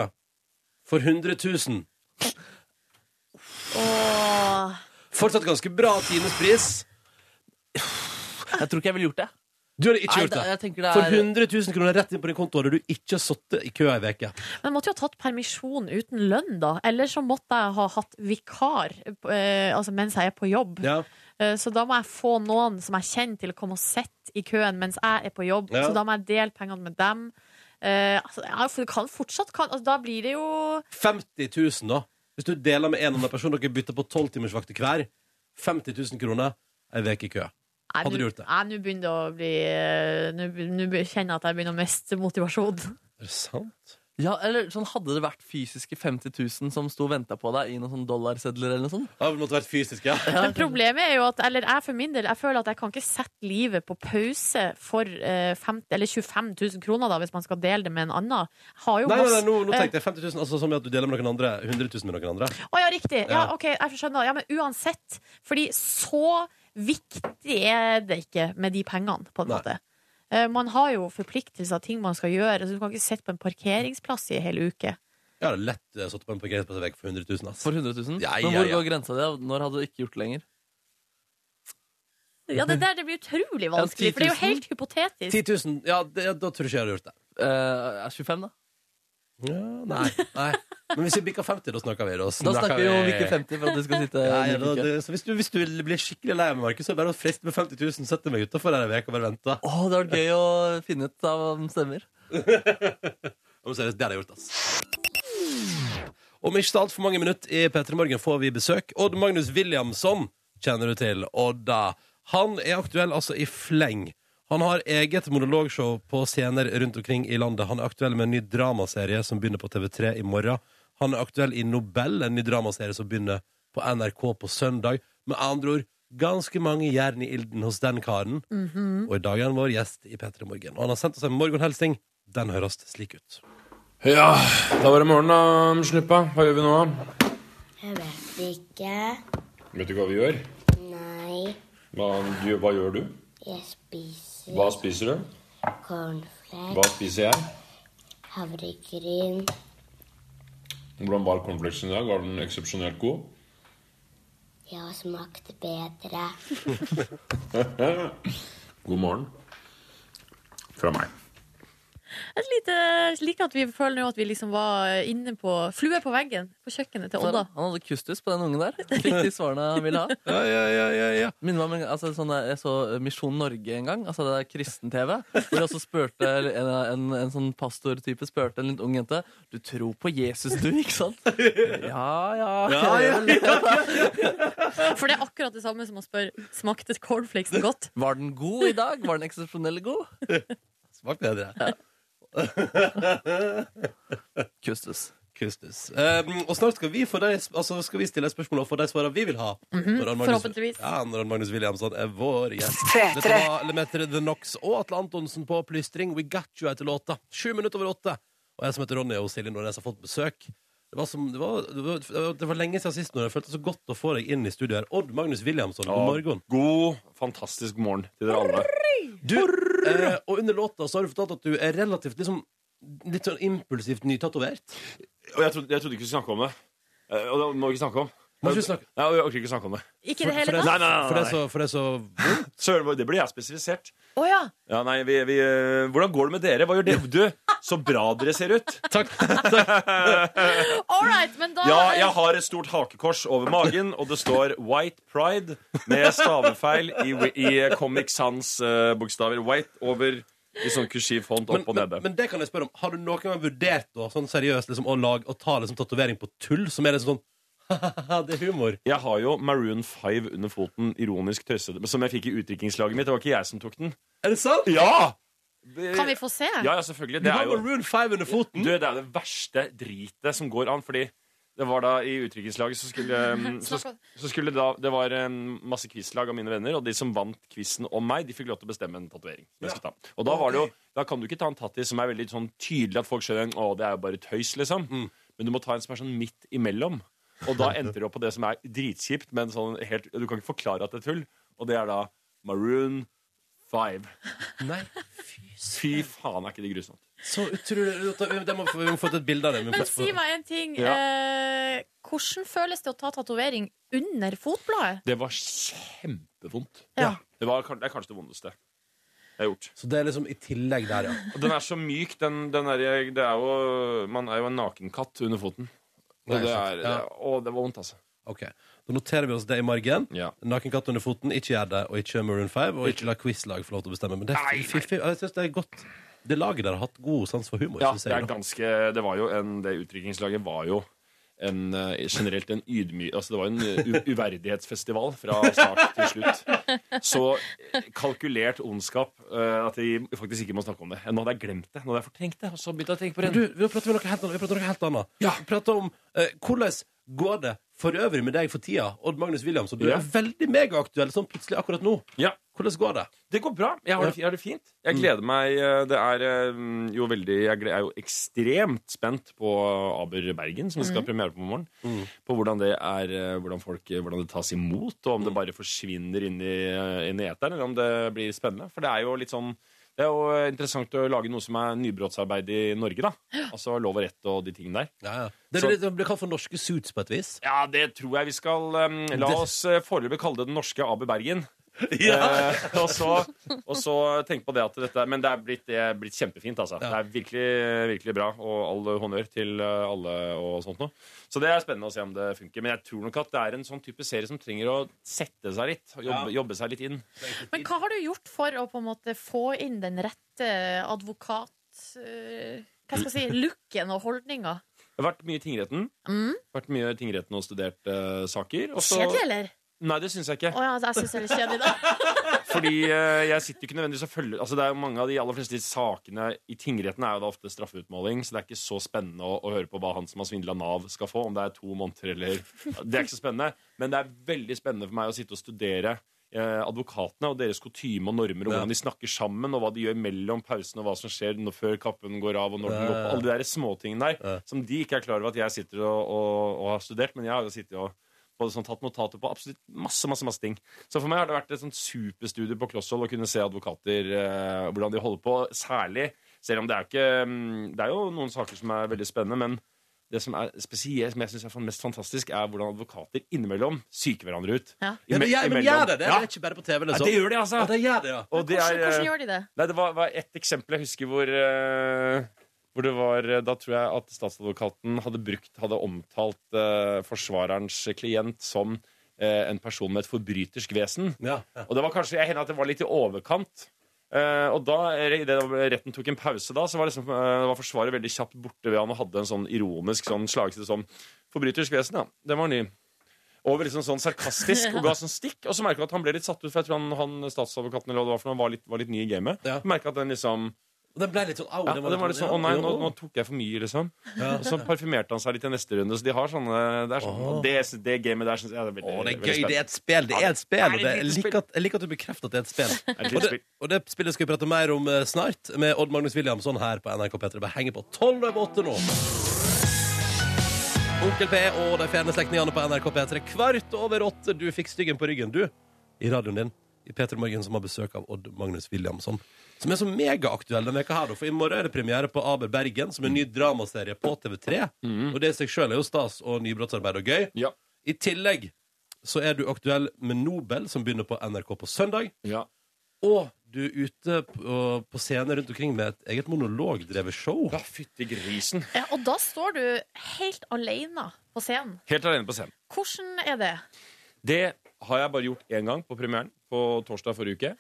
for 100 000
Åh.
Fortsatt ganske bra timespris.
Jeg tror ikke jeg ville gjort det.
Du hadde ikke
Nei,
gjort
da-
det.
jeg tenker det
For
er-
100 000 kroner rett inn på din konto hadde du ikke sittet i kø ei uke.
Men måtte jo ha tatt permisjon uten lønn, da. Eller så måtte jeg ha hatt vikar eh, altså mens jeg er på jobb.
Ja.
Eh, Så da må jeg få noen som jeg kjenner til å komme og sitte i køen mens jeg er på jobb.
Ja.
Så da må jeg dele pengene med dem. Eh, altså, ja, for det kan fortsatt kan, altså, Da blir det jo
50 000, da. Hvis du deler med en annen person, dere bytter på 12-timersvakter hver. 50 000 kroner ei uke i kø.
Nei,
Hadde
nå-
du gjort det?
Nei, nå begynner det å bli eh, Nå be- nå be- kjenner jeg at jeg begynner å miste motivasjon.
Er det sant?
Ja, eller sånn Hadde det vært fysiske 50 000 som sto og venta på deg i noen sånn dollarsedler eller noe sånt?
Ja, vi måtte vært fysisk, ja.
Men problemet er jo at Eller jeg for min del Jeg føler at jeg kan ikke sette livet på pause for eh, 50, eller 25 000 kroner, da, hvis man skal dele det med en annen. Jeg Har jo
Nei, nei, nei
masse-
nå, nå tenkte jeg 50 000, altså som i at du deler med noen andre. 100 000 med noen andre.
Eh, Å ja, riktig. Ja,
Ja.
ok, jeg skjønner. Ja, men uansett. Fordi så viktig er det ikke med de pengene, på en
Nei.
måte. Eh, Man har jo forpliktelser, ting man skal gjøre. Så du kan ikke sitte på en parkeringsplass i en hel uke.
Jeg hadde lett eh, satt på en parkeringsplassvegg for 100 000, ass.
For 100 000?
Ja,
Men
ja,
hvor
ja.
går grensa di? Når hadde du ikke gjort det lenger?
Ja, det der det blir utrolig vanskelig, for det er jo
10 000.
helt hypotetisk.
10 000, ja, det, da tror jeg ikke jeg hadde gjort det.
Eh, 25, da?
Ja, nei, nei. Men hvis vi bikker 50, da snakker vi. Da
Da snakker vi om ikke 50 for at du skal sitte
Ja, ja,
like
da,
i kø.
det, så hvis, du, hvis du blir skikkelig lei av Markus, så er det bare å friste med 50 000, sette meg utafor ei uke og bare vente.
Å, det hadde vært gøy å finne ut av om det stemmer.
Om seriøst, det hadde jeg gjort, ass. Om ikke så altfor mange minutter i P3 Morgen får vi besøk. Odd Magnus Williamson kjenner du til. Odda. Han er aktuell altså i fleng. Han har eget monologshow på scener rundt omkring i landet. Han er aktuell med en ny dramaserie som begynner på TV3 i morgen. Han er aktuell i Nobel, en ny dramaserie som begynner på NRK på søndag. Med andre ord ganske mange jern i ilden hos den karen. Og i dag er han vår gjest i P3 Morgen. Og han har sendt oss en morgenhelsing. Den høres slik ut.
Ja, da var det morgen da, snuppa. Hva gjør vi nå?
Jeg vet ikke.
Vet du hva vi gjør?
Nei,
Hva, du, hva gjør du?
jeg spiser
Hva spiser du? Hva
cornflakes,
spiser jeg?
havregryn,
Hvordan var cornflakesen i dag? Var den eksepsjonelt god?
jeg har smakt bedre.
God morgen. Fra meg.
Et lite, like at vi føler nå at vi liksom var inne på Flue på veggen på kjøkkenet til
Så
Odda.
Han hadde kustus på den ungen der. Fikk de svarene han ville ha.
Ja, ja, ja, ja, ja.
Minner meg om en- altså, sånn, der- Jeg så Misjon Norge en gang, altså det er kristen-TV. Hvor jeg også spurte en, en, en sånn pastortype spurte en litt ung jente Du tror på Jesus, du, ikke sant? Ja, ja.
Ja, ja,
For det er akkurat det samme som å spørre smakte cornflakesen godt.
Var den god i dag? Var den eksepsjonelt god?
Smak bedre.
Kustus.
Kustus. Um, og snart skal vi, få de, altså skal vi stille et spørsmål og få de svarene vi vil ha. Når Ann Magnus-
forhåpentligvis.
Ja, når Ann Magnus Williamson er vår gjest.
Tre,
Dette
tre.
var Lemeter The Knox og Atle Antonsen på Plystring. We got you etter låta. Sju minutter over åtte. Og jeg som heter Ronny og Silje Nordnes har fått besøk. Det var, som, det, var, det, var, det var lenge siden sist når jeg følte så godt å få deg inn i studio her. Odd Magnus Williamson, god morgen.
God, fantastisk morgen til dere alle.
Du, eh, og under låta så har du fortalt at du er relativt liksom, litt sånn impulsivt nytatovert.
Og jeg trodde, jeg trodde ikke vi skulle snakke om det. Eh, Og det må vi ikke snakke om.
Må ikke snakke
Nei, jeg orker ikke snakke om det.
Ikke i det
for
hele
det-
Nei,
tatt?
nei,
For det er
nei, nei.
så, for det er så vondt.
Søren, det blir jeg spesifisert.
Å ja.
Ja, nei, vi, vi, eh, hvordan går det med dere? Hva gjør dere? Du, så bra dere ser ut.
Takk. Takk.
All right, men da
Ja, jeg har et stort hakekors over magen, og det står White Pride med stavefeil i, i Comic Sans-bokstaver. White over i sånn kursiv font
Men,
opp og
men,
nede.
men det kan jeg spørre om. Har du noen gang vurdert da, sånn seriøst liksom, å, lage, å ta liksom, tatovering på tull, som er liksom sånn ha-ha-ha, Det er humor.
Jeg har jo Maroon 5 under foten, ironisk tøysete, men som jeg fikk i utdrikningslaget mitt. Det var ikke jeg som tok den.
Er det sant?
Ja!
Kan vi få se?
Ja, ja, selvfølgelig.
Du
Det
har
er jo
Maroon 5 under foten.
Mm.
Du, det er det verste dritet som går an, fordi det var da i utdrikningslaget så skulle, um, så,
Snakk om-
så skulle da, Det var um, masse quizlag av mine venner, og de som vant quizen om meg, de fikk lov til å bestemme en tatovering. som jeg skulle ta. Og da var det jo Da kan du ikke ta en tattis som er veldig sånn tydelig at folk skjønner Å, det er jo bare tøys, liksom.
Mm.
Men du må ta en som er sånn midt imellom. Og da endte du opp på det som er dritkjipt, men sånn helt Du kan ikke forklare at det er tull, og det er da Maroon 5.
Nei,
Fy faen, er ikke det grusomt?
så utrolig det må, Vi må få til et bilde av det. Vi må
Men
få-
si meg en ting.
Ja.
Eh, hvordan føles det å ta tatovering under fotbladet?
Det var kjempevondt.
Ja.
Det, var, kan- det er kanskje det vondeste jeg har gjort.
Så det er liksom i tillegg der, ja.
Og den er så myk. Den, den er, det er jo, man er jo en nakenkatt under foten. Og
Nei,
det,
sant.
er,
Ja.
å, det var vondt, altså.
Ok, Da noterer vi oss det i margen.
Ja.
Naken katt under foten. Ikke gjør det, og ikke Maroon 5. Og ikke la quizlag få lov til å bestemme. Men det,
Nei, nei.
fy, fy, jeg synes det er godt. Det laget der har hatt god sans for humor.
Ja,
synes
det,
jeg,
er
da.
ganske, det var jo en Det utdrikningslaget var jo en, eh, generelt en ydmy... Altså det var en u uverdighetsfestival fra start til slutt. Så eh, kalkulert ondskap eh, at jeg faktisk ikke må snakke om det. Nå hadde jeg glemt det. Nå hadde jeg fortrengt det. Og så begynte jeg å tenke på det.
Men Du, vi prater om noe helt annet. Vi prater om, noe helt annet. Vi prater om eh, hvordan går det for øvrig med deg for tida, Odd Magnus Williamson. Du
Ja.
er veldig megaaktuell sånn plutselig akkurat nå.
Ja.
Hvordan går det?
Det går bra. Jeg har det, jeg har det fint. Jeg gleder meg. eh, Det er eh, jo veldig Jeg gle- er jo ekstremt spent på Aber Bergen, som vi skal ha premiere på i morgen. På hvordan det er eh, Hvordan folk eh, Hvordan det tas imot, og om det bare forsvinner inn i, eh, inn i eteren, eller om det blir spennende. For det er jo litt sånn det er jo interessant å lage noe som er nybrottsarbeid i Norge, da. Altså lov og rett og de tingene der.
Det
Så-
blir, det blir kalt for norske suits på et vis.
Ja, det tror jeg vi skal um, La
Det-
oss eh, foreløpig kalle det den norske Aber Bergen. Eh, og, så, og så tenk på det at dette Men det er blitt, det er blitt kjempefint, altså. Det er virkelig, virkelig bra, og all honnør til eh, alle og sånt noe. Så det er spennende å se om det funker. Men jeg tror nok at det er en sånn type serie som trenger å sette seg litt. og Jobbe, jobbe seg litt inn.
Men hva har du gjort for å på en måte få inn den rette advokat... eh, hva skal jeg si? Looken og holdninga?
Jeg har vært mye i tingretten.
Mm.
Vært mye i tingretten og studert eh, saker. Og så-
Kjedelig, eller?
Nei, det syns jeg ikke.
Å ja, altså, jeg syns det er litt kjedelig, da.
Fordi eh, jeg sitter jo ikke nødvendigvis og følger Altså det er jo mange av de aller fleste sakene i tingretten er jo da ofte straffeutmåling, så det er ikke så spennende å, å høre på hva han som har svindla Nav, skal få, om det er to måneder eller Det er ikke så spennende, men det er veldig spennende for meg å sitte og studere eh, advokatene og deres kutyme og normer, og
Ja.
hvordan de snakker sammen, og hva de gjør mellom pausene, og hva som skjer når, før kappen går av, og når den
Ja,
går
ja,
på,
ja.
alle de der småtingene der,
Ja.
som de ikke er klar over at jeg sitter og, og, og har studert, men jeg har jo sittet og både sånn tatt notater på absolutt masse, masse, masse ting. Så for meg har det vært et sånt superstudie på klosshold å kunne se advokater, eh, hvordan de holder på, særlig, selv om det er jo ikke, mm, det er jo noen saker som er veldig spennende, men det som er spesielt, som jeg synes er fan- mest fantastisk, er hvordan advokater innimellom syker hverandre ut.
Ja.
Ja, men,
Ime-
jeg, men
imellom.
gjør det det?
Ja.
Det er ikke bare på TV,
Ja,
liksom?
det gjør de, altså.
Ja, det gjør det, ja.
Og det
Hvordan,
er,
hvordan
eh,
gjør de det?
Nei, det var, var ett eksempel jeg husker hvor, eh, hvor det var eh, Da tror jeg at statsadvokaten hadde brukt Hadde omtalt eh, forsvarerens klient som eh, en person med et forbrytersk vesen.
Ja, ja.
Og det var kanskje, jeg hender at det var litt i overkant. Eh, og da, i det retten tok en pause da, så var, liksom, eh, var forsvaret veldig kjapt borte ved han og hadde en sånn ironisk sånn slagside som Forbrytersk vesen, ja. Den var ny. Over liksom sånn sarkastisk og ga sånn stikk. Og så merka jeg at han ble litt satt ut, for jeg tror han, han statsadvokaten eller hva det var, for han var litt, var litt ny i gamet.
Ja.
Merket at den liksom
Og den ble litt sånn au.
ja, det var litt sånn, Å nei, nå, nå tok jeg for mye, liksom.
Ja.
Og så parfymerte han seg litt i neste runde. Så de har sånne Det, er sånn,
Åh.
det, det gamet der syns jeg er veldig,
Å, det er
veldig
gøy. Det er
spennende.
et spill. Det
Ja,
er et spill. Og
det er
det,
et
jeg,
lite
liker at, jeg liker at du bekrefter at det er et spill.
Det er et
Og
lite
det,
spill.
og det spillet skal vi prate mer om eh, snart, med Odd Magnus Williamson her på NRK P3. Bare henger på 12 over 8 nå. Onkel P og de fjerne slektningene på NRK P3 kvart over åtte. Du fikk styggen på ryggen, du, i radioen din. I P3 Morgen, som har besøk av Odd Magnus Williamson. Som er så megaaktuell denne veka her, da, for i morgen er det premiere på Aber Bergen, som er en ny dramaserie på TV3. Og det i seg sjøl er jo stas og nybrottsarbeid og gøy.
Mhm. Ja.
I tillegg så er du aktuell med Nobel, som begynner på NRK på søndag.
Ja.
Og du er ute på, på scenen rundt omkring med et eget monologdrevet show.
Ja, fytti grisen.
Ja, og da står du helt alene på scenen.
Helt alene på scenen.
Hvordan er det?
Det har jeg bare gjort én gang på premieren, på torsdag forrige uke.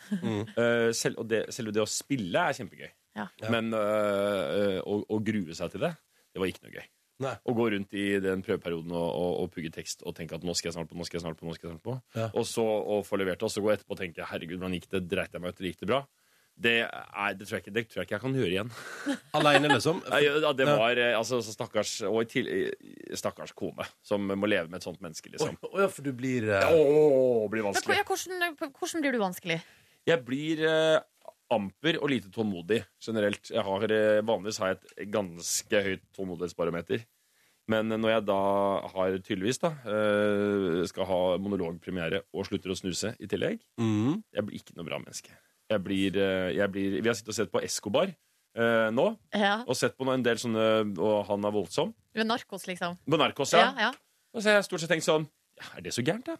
Eh, selv, og det, selve det å spille er kjempegøy.
Ja.
Men eh, å, å grue seg til det, det var ikke noe gøy.
Nei.
Å gå rundt i den prøveperioden og, og, og pugge tekst og tenke at nå skal jeg snart på, nå skal jeg snart på, nå skal jeg snart på.
Ja.
Og så å få levert det, og så gå etterpå og tenke herregud, hvordan gikk det, dreit jeg meg ut, eller gikk det bra? Det, er, det, tror jeg ikke, det tror jeg ikke jeg kan gjøre igjen.
Aleine, liksom.
Nei, Ja, det
Ja.
var eh, altså, så stakkars, og i tillegg- stakkars kone, som må leve med et sånt menneske,
Å
liksom.
å ja, for du blir eh,
Åh, det blir
Men, hvor-
vanskelig.
ja, hvordan, hvordan blir du vanskelig?
Jeg blir eh, amper og lite tålmodig generelt. Jeg har, eh, vanligvis har jeg et ganske høyt tålmodighetsbarometer. Men eh, når jeg da har tydeligvis da, eh, skal ha monologpremiere og slutter å snuse i tillegg,
Mhm.
jeg blir ikke noe bra menneske. Jeg blir, eh, jeg blir, vi har sittet og sett på Escobar eh, nå,
Ja,
og sett på en del sånne, og han er voldsom.
du er narkos, liksom.
På Narcos, ja.
Ja, ja.
Og så har jeg stort sett tenkt sånn, ja, er det så gærent da?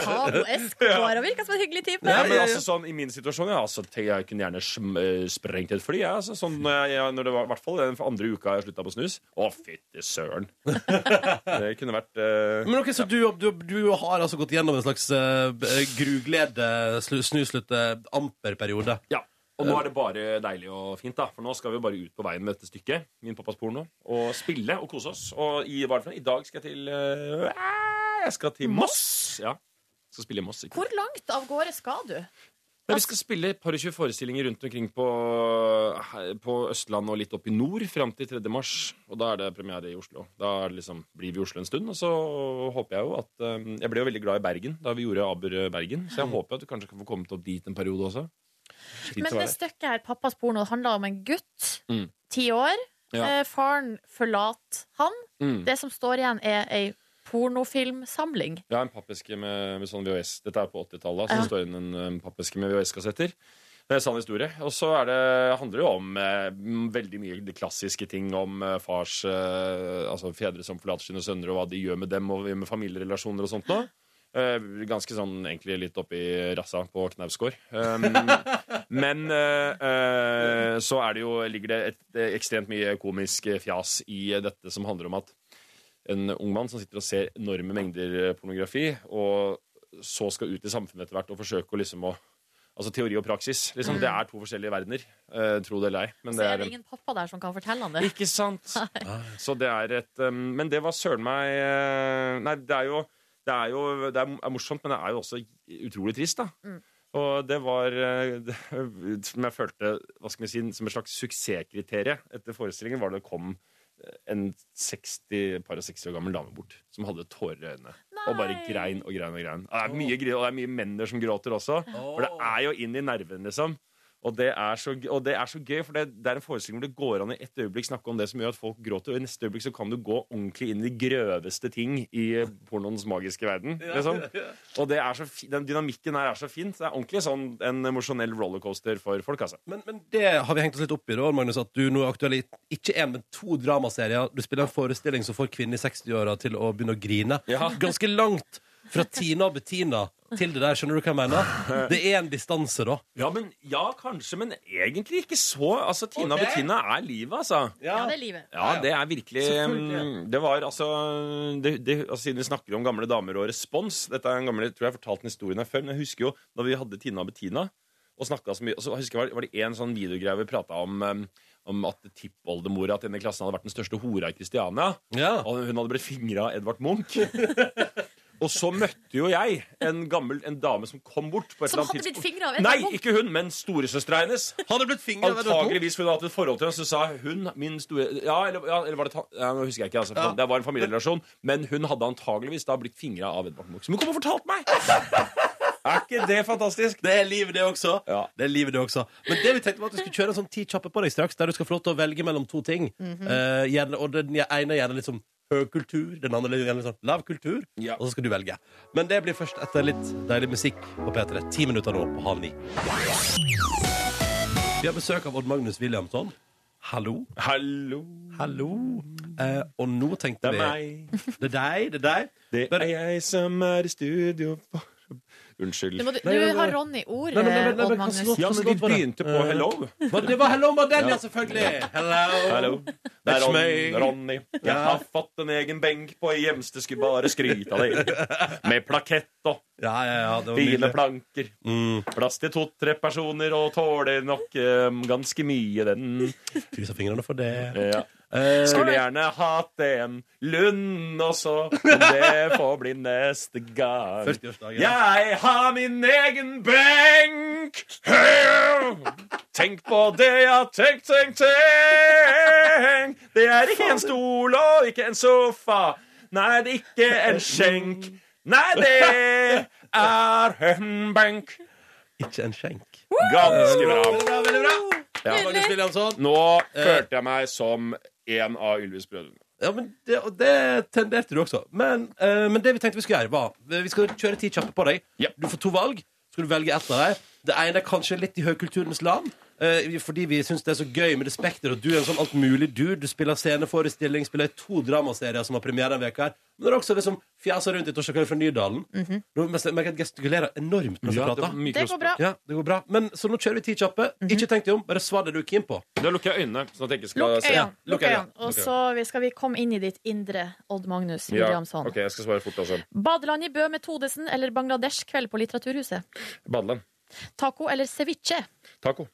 Pablo Escobar han virker som en hyggelig type.
Ja, men altså sånn, I min situasjon ja, altså, te- jeg kunne gjerne sm eh, sprengt et fly. Ja, altså, sånn, når jeg, jeg- når det var, I hvert fall den andre uka jeg slutta på snus. Å, fytti søren! det kunne vært eh,
Men ok, så du, du, du har altså gått gjennom en slags eh, b- gruglede, slu- snuslutte, amperperiode.
Ja. Og nå er det bare deilig og fint, da. For nå skal vi bare ut på veien med dette stykket. Min pappas porno. Og spille og kose oss. Og i, hva er det for noe? I dag skal jeg til eh, Jeg skal til Moss! Ja. Skal spille i Moss. Ikke?
Hvor langt av gårde skal du?
Nei, vi skal spille et par og tjue forestillinger rundt omkring på, her- på Østlandet og litt opp i nord fram til 3. mars. Og da er det premiere i Oslo. Da er det liksom, blir vi i Oslo en stund. Og så håper jeg jo at eh, Jeg ble jo veldig glad i Bergen da vi gjorde Aber Bergen, så jeg håper at du kanskje kan få kommet opp dit en periode også. Fint
Men
å
det
være.
stykket her, pappas porno, handler om en gutt,
Mm.
ti år.
Ja.
Eh, faren forlater han.
Mm.
Det som står igjen, er ei pornofilmsamling.
Ja, en pappeske med, med sånn VHS. Dette er på 80-tallet. Så
Ja.
det står inn en, en pappeske med VHS-kassetter. Det er en sann historie. Og så er det, handler det jo om eh, m- veldig mye de klassiske ting om eh, fars eh, Altså fedre som forlater sine sønner, og hva de gjør med dem, og med familierelasjoner og sånt noe. Eh, ganske sånn egentlig litt oppi rassa på Knausgård. Um, men eh, eh, så er det jo, ligger det et, eh, ekstremt mye komisk eh, fjas i eh, dette som handler om at en ung mann som sitter og ser enorme mengder eh, pornografi, og så skal ut i samfunnet etter hvert og forsøke å liksom å Altså teori og praksis. Liksom, Det er to forskjellige verdener. eh, tro det eller ei. Men
Så
det
er
er
det ingen pappa der som kan fortelle han det.
Ikke sant? Så det er et eh, Men det var søren meg eh, Nei, det er jo Det er jo det er morsomt, men det er jo også utrolig trist, da.
Mm.
Og det var eh, det, Som jeg følte hva skal vi si, som et slags suksesskriterium etter forestillingen, var det kom en 60, par og 60 år gammel dame bort som hadde tårer i øynene. Og bare
Nei.
grein og grein og grein. Og det er mye, gre- og det er mye menner som gråter også. For det er jo inn i nerven, liksom. Og det er så, g- og det er så gøy, for det, det er en forestilling hvor det går an i ett øyeblikk snakke om det som gjør at folk gråter, og i neste øyeblikk så kan du gå ordentlig inn i de grøveste ting i eh, pornoens magiske verden. Liksom. Og det er så fi, den dynamikken her er så fin. Så det er ordentlig sånn en emosjonell rollercoaster for folk, altså.
Men, men det har vi hengt oss litt opp i, da, Magnus, at du nå er aktuell i ikke én, men to dramaserier. Du spiller en forestilling som får kvinner i 60-åra til å begynne å grine.
Ja.
Ganske langt fra Tina og Bettina til det der, skjønner du hva jeg mener? Det er en distanse, da.
Ja, men, ja, kanskje, men egentlig ikke så. Altså, Tina
Ok.
og Bettina er livet, altså.
Ja, det er livet.
Ja, det er virkelig
Selvfølgelig.
mm, Det var altså, det, det, altså Siden vi snakker om gamle damer og respons Dette er en gammel, jeg tror jeg har fortalt den historien her før Men jeg husker jo da vi hadde Tina og Bettina Og snakket så mye Og så husker jeg var- var det en sånn videogreie vi pratet om um, Om at tippoldemora til denne klassen hadde vært den største hora i Kristiania
Ja.
Og hun hadde blitt fingret av Edvard Munch Og så møtte jo jeg en gammel En dame som kom bort på et
Som
eller annet
hadde blitt
tidspunkt.
fingret av Edvard Munch?
Nei, ikke hun, men storesøstra hennes
Hadde blitt fingret ved dere to.
Antakeligvis hun har hatt et forhold til henne, så sa hun min store Ja, eller, ja, eller var det ta, ja, Nå husker jeg ikke, altså. for
Ja.
Det var en familierelasjon. Men hun hadde antakeligvis da blitt fingra av Edvard Munch. Som hun kom og fortalte meg! er ikke det fantastisk?
Det er livet, det også.
Ja.
Det er livet det også. Men det vi tenkte var at vi skulle kjøre en sånn ti kjappe på deg straks, der du skal få lov til å velge mellom to ting. Eh, gjerne, og den ene er gjerne litt sånn høy kultur, den andre er gjerne litt sånn lav kultur.
Ja.
Og så skal du velge. Men det blir først etter litt deilig musikk på P3. Ti minutter nå på halv ni. Vi har besøk av Odd Magnus Williamson. Hallo.
Hallo,
Hallo. Eh, og nå tenkte
det er
vi
meg.
Det er deg, det er deg.
Det er jeg som er i studio for Unnskyld.
Nå må du-
Nei, nei,
nå har
nei.
Ronny ordet,
Nei, men- nei, men- nei,
Odd
men-
Magnus.
Ja, men vi begynte på Hello.
Hva- Det var Hello Madeleine, ja, selvfølgelig. Hello.
Hallo. Det er
That's me.
Ron, Ronny. Jeg har fått en egen benk på Hjems. Det skulle bare skryte av deg. Med plakett og
Ja, ja, ja, det var
fine
nydelig.
planker.
Mm.
Plass til to-tre personer og tåler nok eh, ganske mye, den.
Krysser fingrene for det.
Ja.
Eh,
Skulle gjerne hatt en Lund også, men det får bli neste gang.
40-årsdagen.
Jeg har min egen benk! Tenk på det, ja, tenk, tenk, tenk! Det er ikke en stol og ikke en sofa. Nei, det er ikke en skjenk. Nei, det er en benk.
Ikke en skjenk.
Ganske
Veldig bra. veldig bra ja. Magnus Williamson.
Nå følte jeg meg som en av Ylvis-brødrene.
Ja, men det, og det tenderte du også. Men, eh, men det vi tenkte vi skulle gjøre, var eh, Vi skal kjøre ti kjappe på deg.
Ja.
Du får to valg. Så skal du velge ett av dem. Det ene er kanskje litt i høykulturens land. eh, fordi vi syns det er så gøy med det Spekter, og du er en sånn altmulig dude. Du spiller sceneforestilling, spiller i to dramaserier som har premiere denne uka her. Men du har også liksom fjasa rundt i Torstein Kveld fra Nydalen. Nå merker jeg at jeg gestikulerer enormt mens jeg prater.
Det går bra.
Ja, det går bra. Men, så nå kjører vi ti kjappe. Ikke tenk deg om, bare svar det du er keen på.
Da lukker jeg øynene. sånn at jeg ikke skal
Lukk
se.
Ja,
øynene.
lukk
Lukk
øynene.
øynene. Og
Lukk
så vi- skal vi komme inn i ditt indre Odd Magnus
Ja,
Williamson.
ok, jeg skal svare fort altså. også.
Badeland i Bø med Todesen eller Bangladesh-kveld på Litteraturhuset?
Badeland.
Taco eller ceviche?
Taco.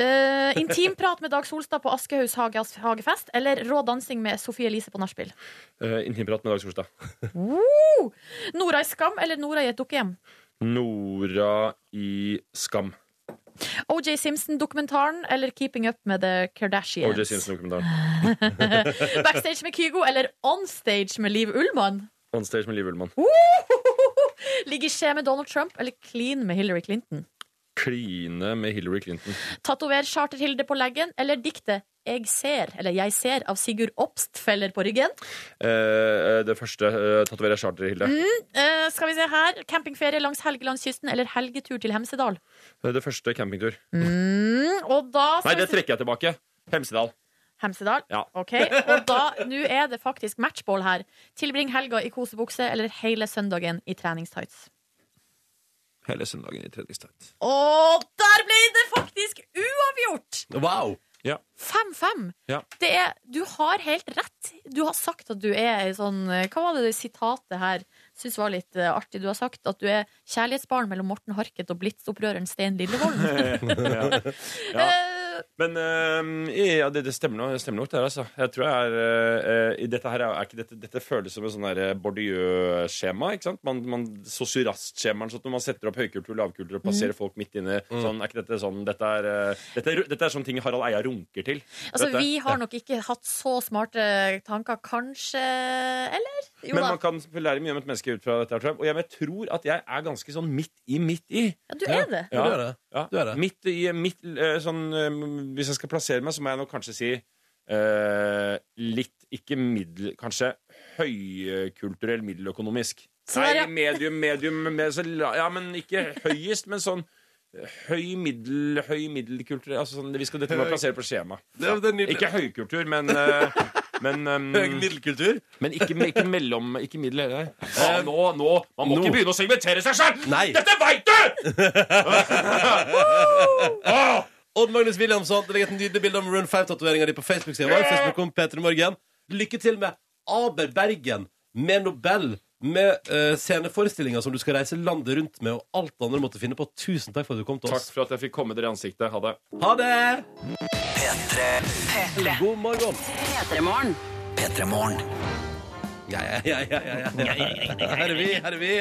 Eh, intimprat med Dag Solstad på Aschehougs hage- hagefest eller rå dansing med Sofie Elise på nachspiel?
Eh, Intimprat med Dag Solstad.
Woo! Nora i Skam eller Nora i et dukkehjem?
Nora i Skam.
OJ Simpson-dokumentaren eller Keeping Up med The Kardashians?
OJ Simpson-dokumentaren.
Backstage med Kygo eller Onstage med Liv Ullmann?
On stage med Liv Ullmann.
Ligge i skje med Donald Trump eller clean med Hillary Clinton?
Kline med Hillary Clinton.
Tatover Charterhilde på leggen eller diktet 'Jeg ser' eller 'Jeg ser' av Sigurd Obstfeller på ryggen?
Eh, eh, det første eh, tatoverer jeg charter, Hilde.
Eh, skal vi se her Campingferie langs Helgelandskysten eller helgetur til Hemsedal?
Eh, Det første campingtur.
Mm, og da
Nei,
skal vi
det
se-
trekker jeg tilbake. Hemsedal.
Hemsedal?
Ja.
Ok, og da, nå er det faktisk matchball her. Tilbring helga i kosebukse eller hele søndagen i treningstights.
Hele søndagen i treningstight.
Og der ble det faktisk uavgjort!
Wow!
5-5.
Ja.
Det er, du har helt rett. Du har sagt at du er ei sånn Hva var det det sitatet her syns var litt eh, artig? Du har sagt at du er kjærlighetsbarn mellom Morten Harket og Blitz-opprøreren Stein Lillevold.
ja. Ja.
Eh,
Men eh, ja, det, det, stemmer nok, det stemmer nok, det her, altså. Jeg tror jeg er, eh, i dette, her er, er ikke dette, dette føles som et sånn der, eh, Bourdieu-skjema. ikke sant? Man, man, Sosialistskjemaen. Sånn at når man setter opp høykultur og lavkultur
Mhm.
og plasserer folk midt inne
Mm.
sånn, er ikke dette sånn, dette er, eh, dette, er, dette er sånne ting Harald Eia runker til.
altså,
Dette.
vi har nok ikke hatt så smarte tanker, kanskje Eller? Jo
Men
da.
man kan lære mye om et menneske ut fra dette. her, tror jeg. Og jeg, men jeg tror at jeg er ganske sånn midt i, midt i.
Ja, du er det.
Ja. Du er det.
Ja.
Du er det.
Midt i, midt, eh, sånn, eh, hvis jeg skal plassere meg, så må jeg nok kanskje si eh, litt ikke middel... Kanskje høykulturell middeløkonomisk.
Så der, ja.
Nei, medium, medium med, så, la- Ja, men ikke høyest, men sånn eh, Høy middel, høy middelkultur altså sånn, Vi skal dette må jeg plassere på skjema.
Det, det er nydelig.
Ikke høykultur, men, eh, men um,
Høy middelkultur.
men ikke, ikke mellom Ikke middel heller. Ja, nå, nå! Man må
Nå.
ikke begynne å segmentere seg sjøl!
Nei.
Dette veit du! Åh!
Odd Magnus Williamson, det ligger et nydelig bilde om Rune 5-tatoveringa di på Facebook-sida vår. Facebook Peter Morgen. Lykke til med Aber Bergen, med Nobel, med uh, sceneforestillinger som du skal reise landet rundt med, og alt det andre du måtte finne på. Tusen takk for at du kom til
Takk
oss.
for at jeg fikk komme dere i ansiktet. Ha det.
Ha det! God morgen.
P3morgen.
Ja, ja, ja, ja, ja, ja. Her er vi, her er vi.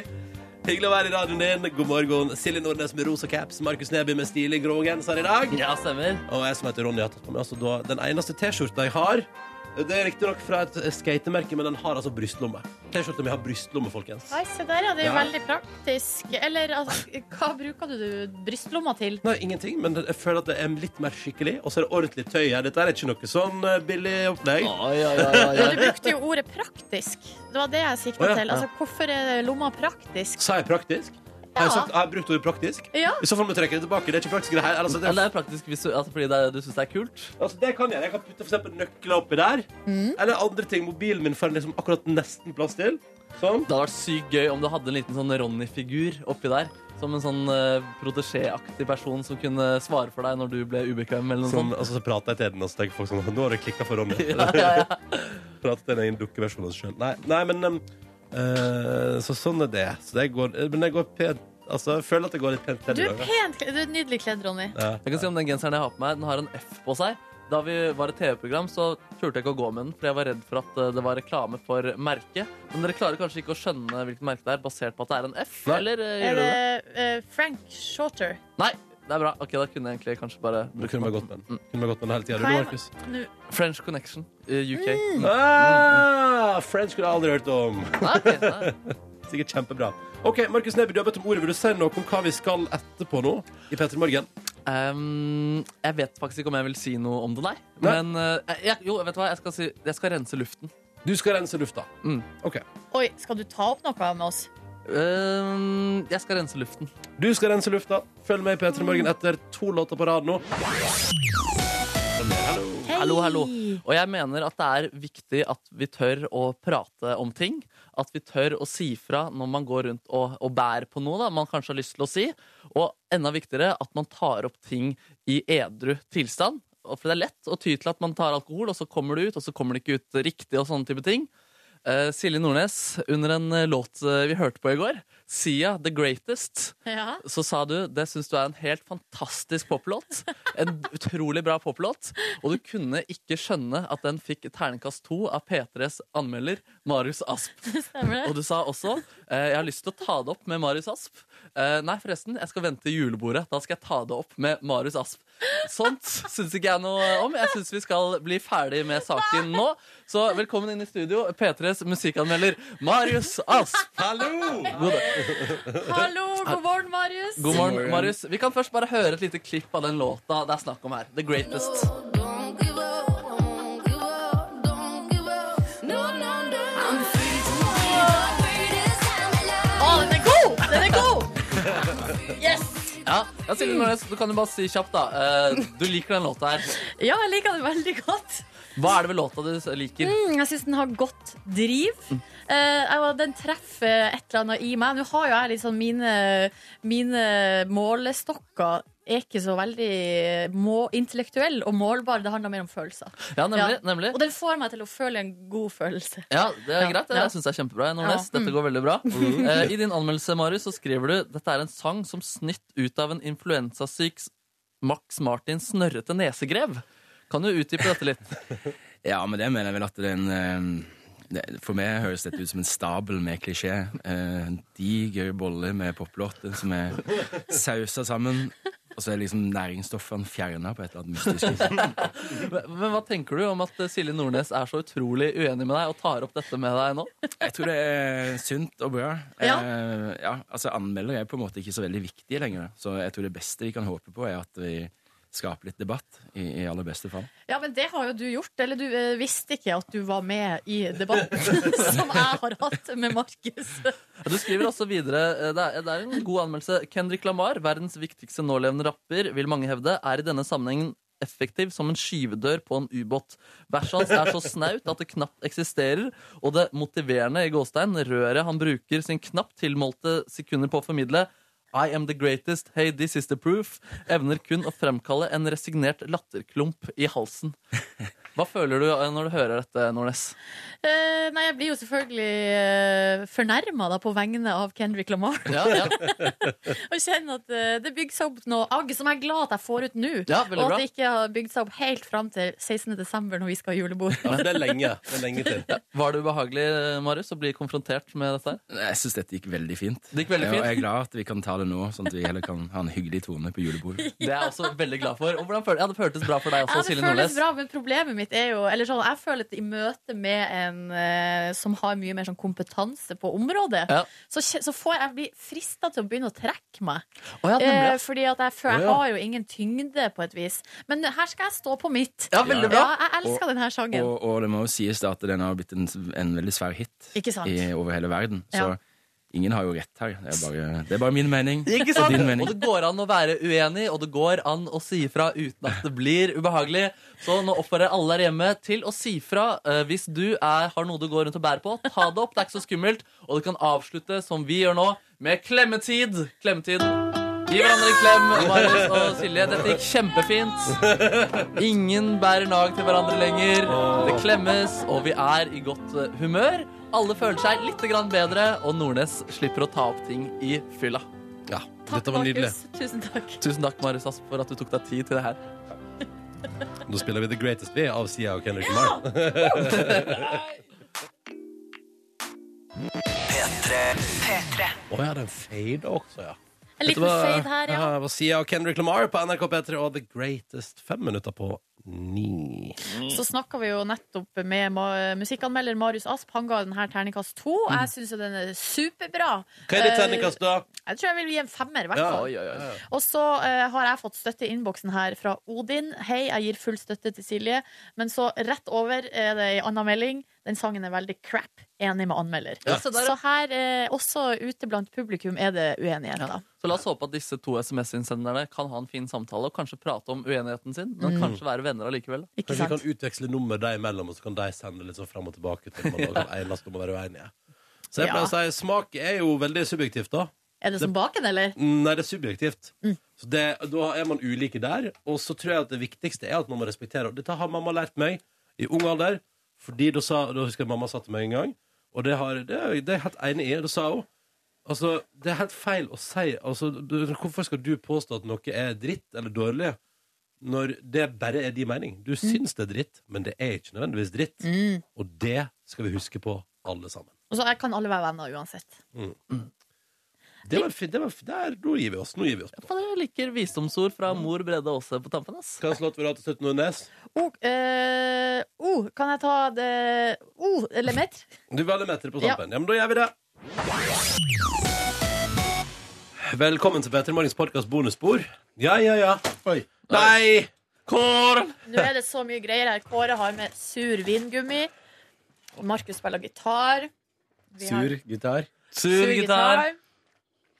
Hyggelig å være i radioen din. God morgen. Silje Nordnes med rosa caps. Markus Neby med stilig grå genser i dag.
Ja, stemmer.
Og jeg som heter Ronny har tatt på meg altså, da, den eneste T-skjorta jeg har. Det er riktignok fra et skatemerke, men den har altså brystlomme. T-skjorta mi har brystlomme, folkens.
Nei, se der, ja. Det er jo
Ja.
veldig praktisk. Eller altså, hva bruker du brystlomma til?
Nei, ingenting, men jeg føler at det er litt mer skikkelig. Og så er det ordentlig tøy her. Dette er ikke noe sånn eh, billig opplegg.
Oi, oi, oi, oi,
Du
oi.
brukte jo ordet praktisk. Det var det jeg sikta
Å, ja.
til. Altså, hvorfor er lomma praktisk?
Sa jeg praktisk? Har jeg, sagt, har jeg brukt ordet praktisk?
Ja.
I så fall må jeg trekke det tilbake. Det er ikke praktisk i det her. Altså, det,
Men det er praktisk hvis du, altså, fordi det er, du syns det er kult.
altså, det kan jeg. Jeg kan putte for eksempel nøkler oppi der. Eller andre ting. Mobilen min får jeg liksom akkurat nesten plass til. Sånn.
Det hadde vært sykt gøy om du hadde en liten sånn Ronny-figur oppi der. Som en sånn uh, protesjéaktig person som kunne svare for deg når du ble ubekvem. eller noe
Sånn,
sånt.
altså, så prater jeg til den, og så tenker folk sånn Nå har du klikka for Ronny.
Ja, ja, ja.
Prater til en egen dukkeversjon av seg sjøl. Nei, nei, men um, eh, Så sånn er det. Så det går, men det går pent Altså, jeg føler at det går litt pent
Du
til i
er
dag. da.
pent kledd. Du er nydelig kledd, Ronny.
Ja.
Jeg kan si om den genseren jeg har på meg, den har en F på seg. Da vi var et TV-program, så turte jeg ikke å gå med den, for jeg var redd for at eh, det var reklame for merket. Men dere klarer kanskje ikke å skjønne hvilket merke det er, basert på at det er en F?
Nei.
Eller eh,
Er
gjør dere det?
det eh, Frank Shorter?
Nei, det er bra. Ok, Da kunne jeg egentlig kanskje bare Mm.
Du kunne bare gått med den. Kunne bare gått med den hele tida.
Hva
Du,
er-
Markus.
Nå-
French Connection eh, UK.
Mm. Ah, French kunne jeg aldri hørt om.
Nei, ok, nei.
Sikkert kjempebra. Ok, Markus Neby, du har bedt om ordet. Vil du si noe om hva vi skal etterpå nå? I Petter Morgen?
Ehm, jeg vet faktisk ikke om jeg vil si noe om det, nei.
Nei.
Men eh, jeg, jo, vet du hva, jeg skal, si, jeg skal rense luften.
Du skal rense lufta.
Mm.
Ok.
Oi, skal du ta opp noe med oss?
Ehm, jeg skal rense luften.
Du skal rense lufta. Følg med i Petter Morgen etter to låter på rad nå.
Hallo, hallo. Og jeg mener at det er viktig at vi tør å prate om ting. At vi tør å si fra når man går rundt og, og bærer på noe da, man kanskje har lyst til å si. Og enda viktigere at man tar opp ting i edru tilstand. Og For det er lett å ty til at man tar alkohol, og så kommer det ut, og så kommer det ikke ut riktig. og sånne type ting. Eh, Silje Nordnes, under en eh, låt eh, vi hørte på i går, 'Sia The Greatest',
Ja.
så sa du det syns du er en helt fantastisk poplåt. En utrolig bra poplåt. Og du kunne ikke skjønne at den fikk terningkast to av P3s anmelder Marius Asp.
Stemmer det?
Og du sa også eh, jeg har lyst til å ta det opp med Marius Asp. Eh, nei, forresten, jeg skal vente til julebordet. Da skal jeg ta det opp med Marius Asp. Sånt syns ikke jeg noe om. Jeg syns vi skal bli ferdig med saken nå. Så velkommen inn i studio, P3s musikkanmelder Marius Asp.
Hallo!
God dag.
Hallo, god morgen, Marius.
God morgen, Marius. Vi kan først bare høre et lite klipp av den låta det er snakk om her. The Greatest.
Å, den er god! Den er god! Yes!
Ja, ja Silje
Mm.
Nordnes, du kan jo bare si kjapt, da. eh, Du liker den låta her.
Ja, jeg liker den veldig godt.
Hva er det ved låta du liker?
Mm, jeg syns den har godt driv. Eh, jeg- og den treffer eh, et eller annet i meg. Nå har jo jeg litt sånn mine, mine målestokker er ikke så veldig eh, må, intellektuell og målbar. Det handler mer om følelser.
Ja, nemlig.
Ja.
nemlig.
Og den får meg til å føle en god følelse.
Ja, det er
Ja,
greit.
ja.
Jeg syns det er kjempebra. Nordnes.
Ja, mm.
Dette går veldig bra. Eh, I din anmeldelse Marius, så skriver du dette er en sang som snytt ut av en influensasyk Max Martin snørrete nesegrev. Kan du utdype dette litt?
Ja, men det mener jeg vel at det er en eh, det, For meg høres dette ut som en stabel med klisjé. Eh, En diger bolle med poplåter som er sausa sammen. Og så er liksom næringsstoffene fjerna på et eller annet mystisk vis.
Men men hva tenker du om at eh, Silje Nordnes er så utrolig uenig med deg og tar opp dette med deg nå?
Jeg tror det er sunt og bra.
Ja.
Eh, ja, altså Anmeldere er på en måte ikke så veldig viktige lenger. Så jeg tror det beste vi kan håpe på, er at vi skaper litt debatt, i, i aller beste fall.
Ja, men det har jo du gjort. Eller du eh, visste ikke at du var med i debatten som jeg har hatt med Markus.
Ja, Du skriver også videre eh, det er, det er en god anmeldelse. Kendrick Lamar, verdens viktigste nålevende rapper, vil mange hevde, er i denne sammenhengen effektiv som en skyvedør på en ubåt. Verset hans er så snaut at det knapt eksisterer, og det motiverende i gåstein, røret han bruker sin knapt tilmålte sekunder på å formidle, I am the greatest, hey, this is the proof, evner kun å fremkalle en resignert latterklump i halsen. Hva føler du eh, når du hører dette, Nordnes?
Eh, nei, jeg blir jo selvfølgelig uh, fornærma på vegne av Kendrick Lamar.
Ja, ja,
Og kjenner at eh, det bygger seg opp noe agg som jeg er glad at jeg får ut nå.
ja
og
veldig
at
bra.
det ikke har bygd seg opp helt fram til 16. desember når vi skal ha julebord.
Ja, for det er lenge. Det er lenge til.
Var det ubehagelig, Marius, å bli konfrontert med dette? her?
Jeg syns dette gikk veldig fint.
Det gikk veldig
Ja, Og jeg
fint.
er glad at vi kan ta det nå, sånn at vi heller kan ha en hyggelig tone på julebordet.
Det er jeg også veldig glad for. Og hvordan føl- ja, det føltes bra for deg
Ja,
også,
det
Silje
føles
Nordnes.
bra, men problemet mitt er jo Eller sånn, jeg føler at i møte med en eh, som har mye mer sånn kompetanse på området,
Ja.
så, kje- så får jeg bli frista til å begynne å trekke meg.
Å, ja,
Eh,
nemlig.
fordi at jeg, føler,
Å, ja.
jeg har jo ingen tyngde, på et vis. Men her skal jeg stå på mitt.
Ja, veldig bra.
jeg elsker denne sangen.
Og, og det må jo sies da at den har blitt en, en veldig svær hit
Ikke sant?
i, over hele verden. Så
Ja.
Ingen har jo rett her. Det er bare, det er bare min mening.
Ikke sant?
Og din mening.
Og det går an å være uenig, og det går an å si fra uten at det blir ubehagelig. Så nå oppfordrer jeg alle der hjemme til å si fra eh, hvis du er, har noe du går rundt og bærer på. Ta det opp, det er ikke så skummelt. Og det kan avslutte som vi gjør nå, med klemmetid. Klemmetid. Gi hverandre en klem, Marius og Silje. Dette gikk kjempefint. Ingen bærer nag til hverandre lenger. Det klemmes, og vi er i godt eh, humør. Alle føler seg litt grann bedre, og Nordnes slipper å ta opp ting i fylla.
Ja,
Takk,
dette var nydelig.
Markus. Tusen takk.
Tusen takk, Marius Asp, for at du tok deg tid til det her.
Nå spiller vi The Greatest V av Sia og Kendrick Lamar.
P3.
Å ja, den fader også, ja.
En
Dette
liten
var-
fade her, ja.
Det var Sia og Kendrick Lamar på NRK P3 og The Greatest fem minutter på ni.
Så snakka vi jo nettopp med ma musikkanmelder Marius Asp. Han ga den her terningkast to. Jeg syns jo den er superbra.
Mm.
Eh,
Hva er ditt terningkast, da?
Jeg tror jeg vil gi en femmer, i hvert
Ja,
fall.
oi, oi, oi.
Og så eh, har jeg fått støtte i innboksen her fra Odin. Hei, jeg gir full støtte til Silje. Men så rett over er det ei anna melding. Den sangen er veldig crap. Enig med anmelder.
Ja.
Så, her, eh, også ute blant publikum, er det uenighet, da.
Så la oss håpe at disse to SMS-innsenderne kan ha en fin samtale og kanskje prate om uenigheten sin, men
Mm.
kanskje være venner allikevel. da.
Kanskje vi kan utveksle nummer deg imellom, og så kan de sende litt sånn fram og tilbake. til man da kan enes om å være uenige. Så jeg
Ja.
pleier å si smak er jo veldig subjektivt, da.
Er det som bak en, eller?
Nei, det er subjektivt. Så det, da er man ulike der. Og så tror jeg at det viktigste er at man må respektere. Og dette har mamma lært meg i ung alder. Fordi da, sa, da husker jeg mamma sa til meg en gang, og det, har, det, er- det er jeg helt enig i. Da sa hun altså, det er helt feil å si altså, du, Hvorfor skal du påstå at noe er dritt eller dårlig, når det bare er din mening? Du syns det er dritt, men det er ikke nødvendigvis dritt. Og det skal vi huske på, alle sammen.
Og så kan alle være venner uansett.
Mm. Det var, fint, det var, fint. der, nå gir vi oss. Nå gir vi oss.
Fader, jeg liker visdomsord fra
Mm.
mor Brede Aase på tampen. ass.
Hva slags låt vil du ha til slutt, Nordnes?
Oh, eh, oh, kan jeg ta det oh, Lemet?
Du velger meter på
Ja.
tampen. Ja. men da gjør vi det. Velkommen til Petter Morgens podkast bonusspor. Ja, ja, ja. Oi. Nei! Kåren!
Nå er det så mye greier her. Kåre har med sur vingummi. Markus spiller gitar. Vi har
Sur gitar.
sur gitar.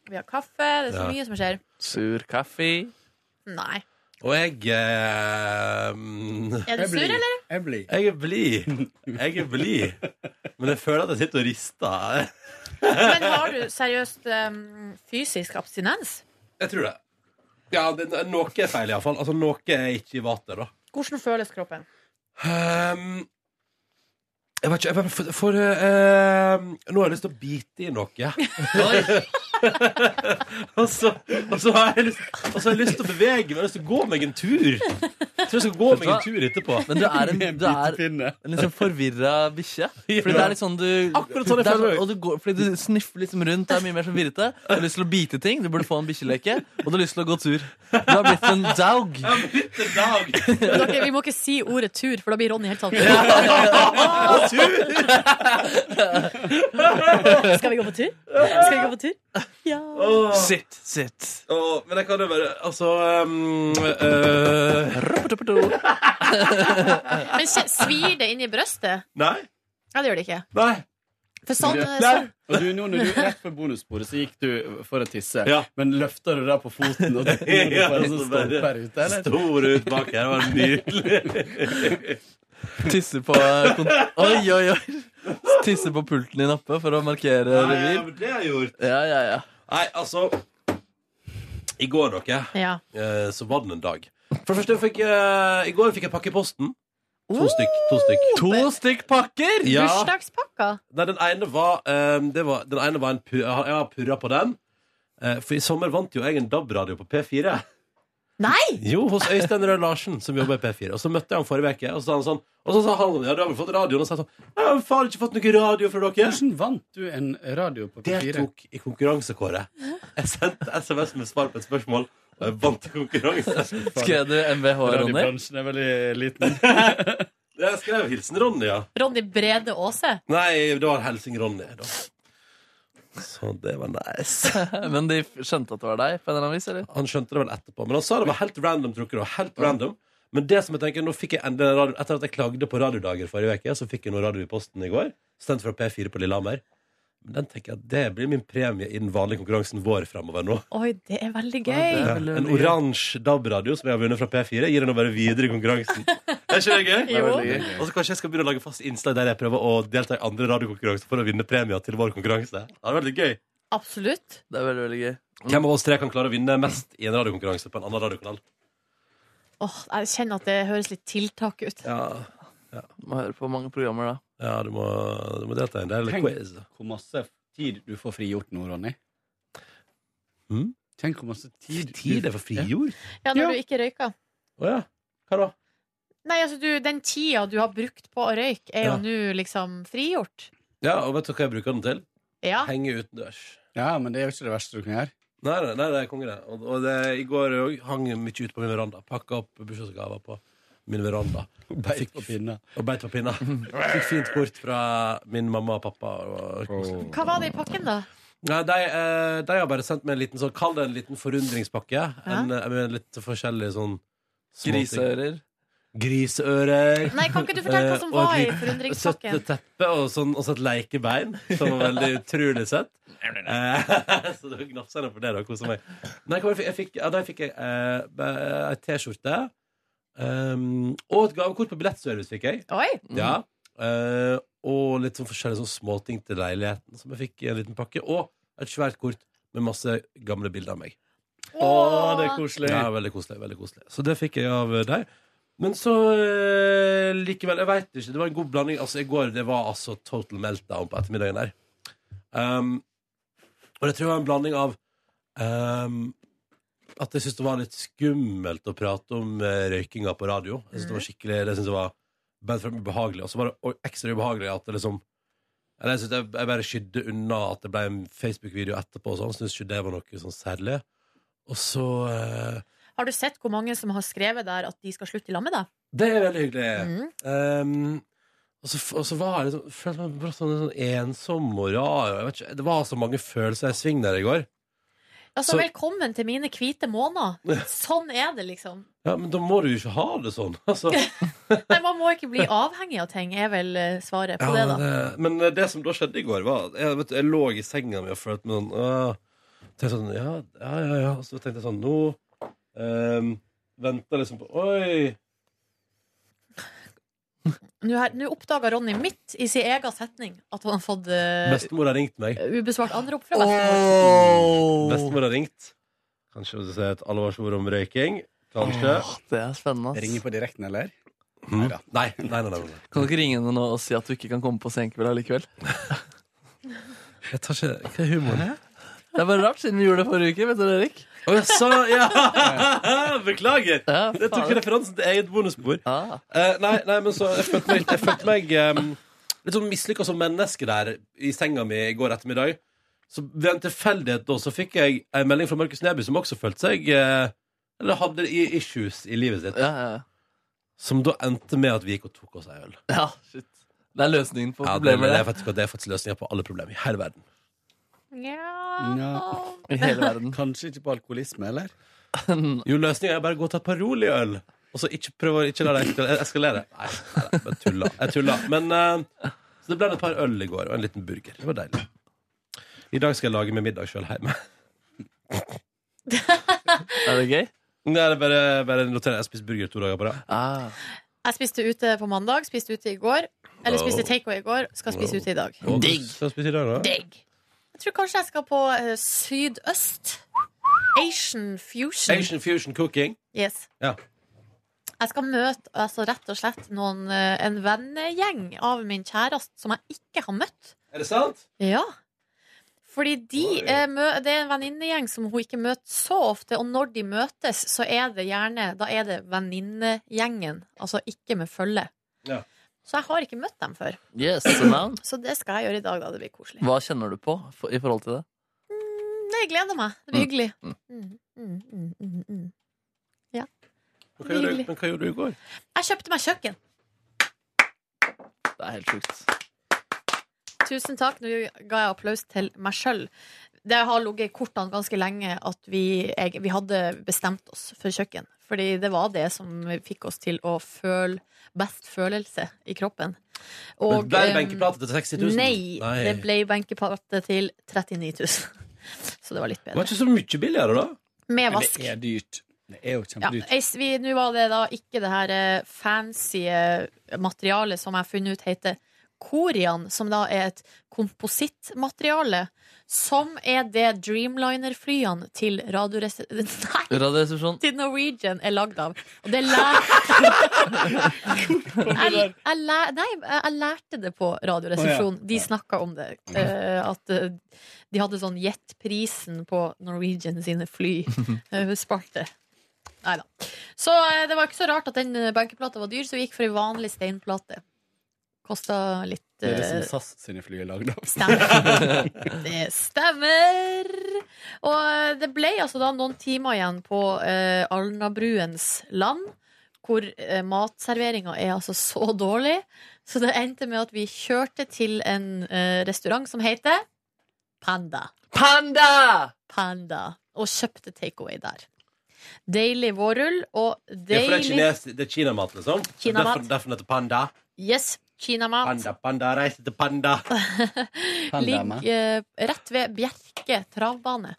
Vi har kaffe. Det er så
Ja.
mye som skjer.
Sur kaffe.
Nei.
Og jeg eh, mm,
Er du sur, eller?
Jeg er blid.
Jeg er blid. Jeg er blid. Men jeg føler at jeg sitter og rister.
Men har du seriøst em, fysisk abstinens?
Jeg tror det. Ja, det, noe er feil, iallfall. Altså, noe er ikke i vater, da.
Hvordan føles kroppen?
Ehm, jeg vet ikke, jeg bare for, for ehm, Nå har jeg lyst til å bite i noe. og, så, og, så har jeg lyst, og så har jeg lyst til å bevege meg. Jeg har lyst til å gå meg en tur. Jeg tror jeg skal gå meg en tur etterpå.
Men du er en, du er en liksom forvirra bikkje. Fordi det er litt sånn du,
Akkurat sånn jeg
det er
føler
sånn- og du går, Fordi du sniffer liksom rundt, det er mye mer som virrete. Du har lyst til å bite ting, du burde få en bikkjeleke, og du har lyst til å gå tur. Du har blitt en daug.
Dere, vi må ikke si ordet tur, for da blir Ronny helt sånn Skal vi gå på tur? Skal vi gå på tur? Ja.
Sitt, sitt.
Åh, men jeg kan jo bare Altså ehm, eh,
Men kje- svir det inn i brøstet?
Nei.
Ja, det gjør det ikke.
Nei.
For sånn,
Du-
sånn
Og du, nå når du Rett før bonussporet så gikk du for å tisse, men løfter du det på foten, og du
Ja,
bare så
så bare-
stolper ut, eller?
Stor ut bak her, det var nydelig.
Tisse på kont Oi, oi, oi. Tisse på pulten din oppe for å markere
Nei, ja,
revir.
men det har jeg gjort.
Ja, ja, ja.
Nei, altså I går, dere,
Ja.
eh, så var det en dag. For det første fikk eh, I går fikk jeg pakke i posten. To stykk. Oh! To stykk,
pakker!
Ja.
Bursdagspakka.
Nei, den ene var, eh, det var Den ene var en pu- Jeg har- jeg har purra på den. Eh, for i sommer vant jo jeg en DAB-radio på P4.
Nei!
Jo, hos Øystein Røe Larsen, som jobber i P4. Og så møtte jeg ham forrige uke, og så sa han sånn Og så sa han ja, du har vel fått radioen? Og så sa han sånn Jeg har faen ikke fått noe radio fra dere.
Hvordan vant du en radio på
Det
P4?
tok i konkurranse, Kåre. Jeg sendte SMS med svar på et spørsmål, og jeg vant i konkurranse.
Skrev du MVH, Ronny?
Radiobransjen er veldig liten.
Jeg skrev hilsen Ronny, ja.
Ronny Brede Aase.
Nei, det var Helsing Ronny. Da. Så det var nice.
Men de f- skjønte at det var deg? på en eller annen vis, eller?
Han skjønte det vel etterpå. Men han sa det var helt random. Tror ikke det var helt random Men det som jeg tenker, nå fikk jeg endelig radio Etter at jeg klagde på radiodager forrige uke, så fikk jeg noe radio i posten i går. Sendt fra P4 på Lillehammer. Men den tenker jeg at det blir min premie i den vanlige konkurransen vår fremover nå.
Oi, det er veldig gøy.
Ja, en oransje DAB-radio som jeg har vunnet fra P4, gir den å være videre i konkurransen. Er ikke det gøy?
Jo.
Og så kanskje jeg skal begynne å lage fast innslag der jeg prøver å delta i andre radiokonkurranser for å vinne premier til vår konkurranse. Det hadde vært litt gøy.
Absolutt.
Det er veldig, veldig gøy.
Hvem av oss tre kan klare å vinne mest i en radiokonkurranse på en annen radiokanal?
Åh, jeg kjenner at det høres litt tiltak ut.
Må høre på mange programmer, da.
Ja, du må, du må delta i en del
Tenk
quiz.
hvor masse tid du får frigjort nå, Ronny. Tenk hvor masse tid
Hm? Tid er for frigjort?
Ja, når du ikke røyker.
Å ja. Hva da?
Nei, altså, du, den tida du har brukt på å røyke, er jo
Ja.
nå liksom frigjort.
Ja, og vet du hva jeg bruker den til?
Ja.
Henge utendørs.
Ja, men det er jo ikke det verste du kan gjøre.
Nei, nei, nei, det er konge, det. Og, og det, i går òg hang jeg mye ute på min veranda. Pakka opp bursdagsgaver på min veranda. Og
beit på pinna.
Og beit på pinna. Fikk fint kort fra min mamma og pappa. Og,
Hva var det i pakken, da?
Nei, de, eh, de har bare sendt meg en liten sånn Kall det en liten forundringspakke. En, eh, med litt forskjellige sånn
Griseører.
Griseører.
Nei, kan ikke du fortelle hva som
Eh,
var
og et
i
lite
forundringspakken?
Søtteteppe og sånn, også et lekebein, som var veldig utrolig søtt. Eh, så det var gnafsende på det, da. Kosa meg. Nei, hva var det jeg fikk, jeg fikk, ja, da fikk jeg eh, be- ei T-skjorte. ehm, og et gavekort på billettservice fikk jeg.
Oi.
Ja. Eh, og litt sånn forskjellige sånn småting til leiligheten som jeg fikk i en liten pakke. Og et svært kort med masse gamle bilder av meg.
Å, det er koselig.
Ja, veldig koselig, veldig koselig. Så det fikk jeg av eh, deg. Men så eh, likevel, jeg veit ikke. Det var en god blanding. Altså, I går det var altså total meltdown på ettermiddagen der. Um, og det tror jeg var en blanding av um, at jeg syntes det var litt skummelt å prate om eh, røykinga på radio. Jeg synes det var skikkelig, det synes jeg var bent frem ubehagelig. Og så var det o- ekstra ubehagelig at det liksom eller jeg, synes jeg, jeg bare skydde unna at det ble en Facebook-video etterpå. Og sånn, synes ikke det var noe sånn særlig. Og så eh,
Har du sett hvor mange som har skrevet der at de skal slutte i lag med deg?
Det er veldig hyggelig. Um, og, så, og så var jeg liksom følte meg bare sånn, sånn ensom og rar. og Jeg vet ikke, det var så mange følelser i sving der i går.
Altså,
Så-
velkommen til mine hvite måneder. Sånn er det, liksom.
Ja, Men da må du jo ikke ha det sånn. Altså.
Nei, man må ikke bli avhengig av ting, er vel eh, svaret på
Ja,
det, da.
det- Men det som da skjedde i går, var at jeg, vet, du, jeg lå i senga mi og følte meg sånn «Åh». tenkte sånn, ja, ja, ja, ja. Og Så tenkte jeg sånn Nå um, venter jeg liksom på Oi!
Nå her- Nå oppdaga Ronny midt i sin egen setning at han har fått eh,
Bestemor har ringt meg.
ubesvart anrop fra bestemor.
Bestemor har ringt. Kanskje hun sier et alvorsord om røyking. Kanskje.
det er spennende. ass.
Ringer på direkten, eller?
Neida. Nei, nei, nei, nei, nei.
Kan du ikke ringe henne nå og si at du ikke kan komme på senkveld allikevel?
Jeg tar ikke Hva er humoren her?
Det er bare rart, siden vi gjorde det forrige uke. Vet du det, Erik?
Å, jeg sa Ja! Beklager!
Ja,
Jeg tok
faen.
referansen til eget bonusbord. Eh, nei, nei, men så Jeg følte meg, jeg følte meg em, litt sånn mislykka som menneske der i senga mi i går ettermiddag. Så ved en tilfeldighet da så fikk jeg en melding fra Markus Neby, som også følte seg eh, Eller hadde i- issues i livet sitt. Som da endte med at vi gikk og tok oss ei øl.
Ja, shit. Det er løsningen på
Ja, det,
problemet.
det, er faktisk, det er faktisk løsninga på alle problemer i hele verden.
I hele verden.
Kanskje ikke på alkoholisme, eller?
Jo, løsninga er bare å gå og ta et par rolige øl. Og så ikke prøve å ikke la det eska- eskalere. Nei, nei, nei, bare tulla. Jeg tulla. Men eh, Så det ble et par øl i går, og en liten burger. Det var deilig. I dag skal jeg lage meg middag sjøl hjemme.
er det gøy?
Nei, det er bare, bare noterer. Jeg spiser burger to dager på rad.
Ah.
Jeg spiste ute på mandag, spiste ute i går. Eller spiste takeaway i går, skal spise ute i dag.
Og du skal spise i dag, da?
Digg. Jeg tror kanskje jeg skal på eh, sydøst. Asian fusion.
Asian fusion cooking.
Yes.
Ja.
Jeg skal møte altså, rett og slett noen, eh, en vennegjeng av min kjæreste som jeg ikke har møtt.
Er det sant?
Ja. Fordi de, eh, mø det er en venninnegjeng som hun ikke møter så ofte, og når de møtes, så er det gjerne Da er det venninnegjengen, altså ikke med følge.
Ja.
Så jeg har ikke møtt dem før.
Yes, so now.
Så det skal jeg gjøre i dag, da. Det blir koselig.
Hva kjenner du på for, i forhold til det?
Nei, jeg gleder meg. Det blir hyggelig.
Mm.
Mm, mm, mm, mm, mm.
Men hva gjorde du- men hva gjorde du i går?
Jeg kjøpte meg kjøkken.
Det er helt sjukt.
Tusen takk. Nå ga jeg applaus til meg sjøl. det har ligget i kortene ganske lenge at vi, jeg, vi hadde bestemt oss for kjøkken. Fordi det var det som fikk oss til å føle best følelse i kroppen.
Men ble
eh,
det benkeplate til 60 000?
Nei,
Nei.
det ble benkeplate til 39 000. Så det var litt
Det
bedre.
var ikke så mye billigere, da.
Med vask.
Det er dyrt. Det er jo
Ja,
kjempedyrt.
jeg- vi- Nå var det da ikke det her eh, fancy eh, materialet som jeg har funnet ut heter Korian, som da er et komposittmateriale. Som er det Dreamliner-flyene til Radioresepsjonen Nei,
Radioresepsjon.
til Norwegian er lagd av. Og det lær... jeg, jeg, lær... Nei, jeg jeg lærte det på
Å,
Radioresepsjonen.
ja.
De snakka om det. eh, at eh, de hadde sånn gjett prisen på Norwegian sine Eh, flyspalter. Nei da. Så eh, det var ikke så rart at den eh, benkeplata var dyr, så vi gikk for ei vanlig steinplate. Kosta litt
Det er det som
eh,
SAS sine fly er lagd av.
Det stemmer! Og det ble altså da noen timer igjen på eh, Alnabruens land, hvor eh, matserveringa er altså så dårlig. Så det endte med at vi kjørte til en eh, restaurant som heter Panda.
Panda!
Panda. Og kjøpte takeaway der. Deilig vårrull og
Ja, for det er,
deilig
kines, det er kinamat, liksom?
Kinamat.
Derfor, derfor den heter panda.
Yes, kinamat.
Panda, panda, reise til panda.
Ligg eh, rett ved Bjerke travbane.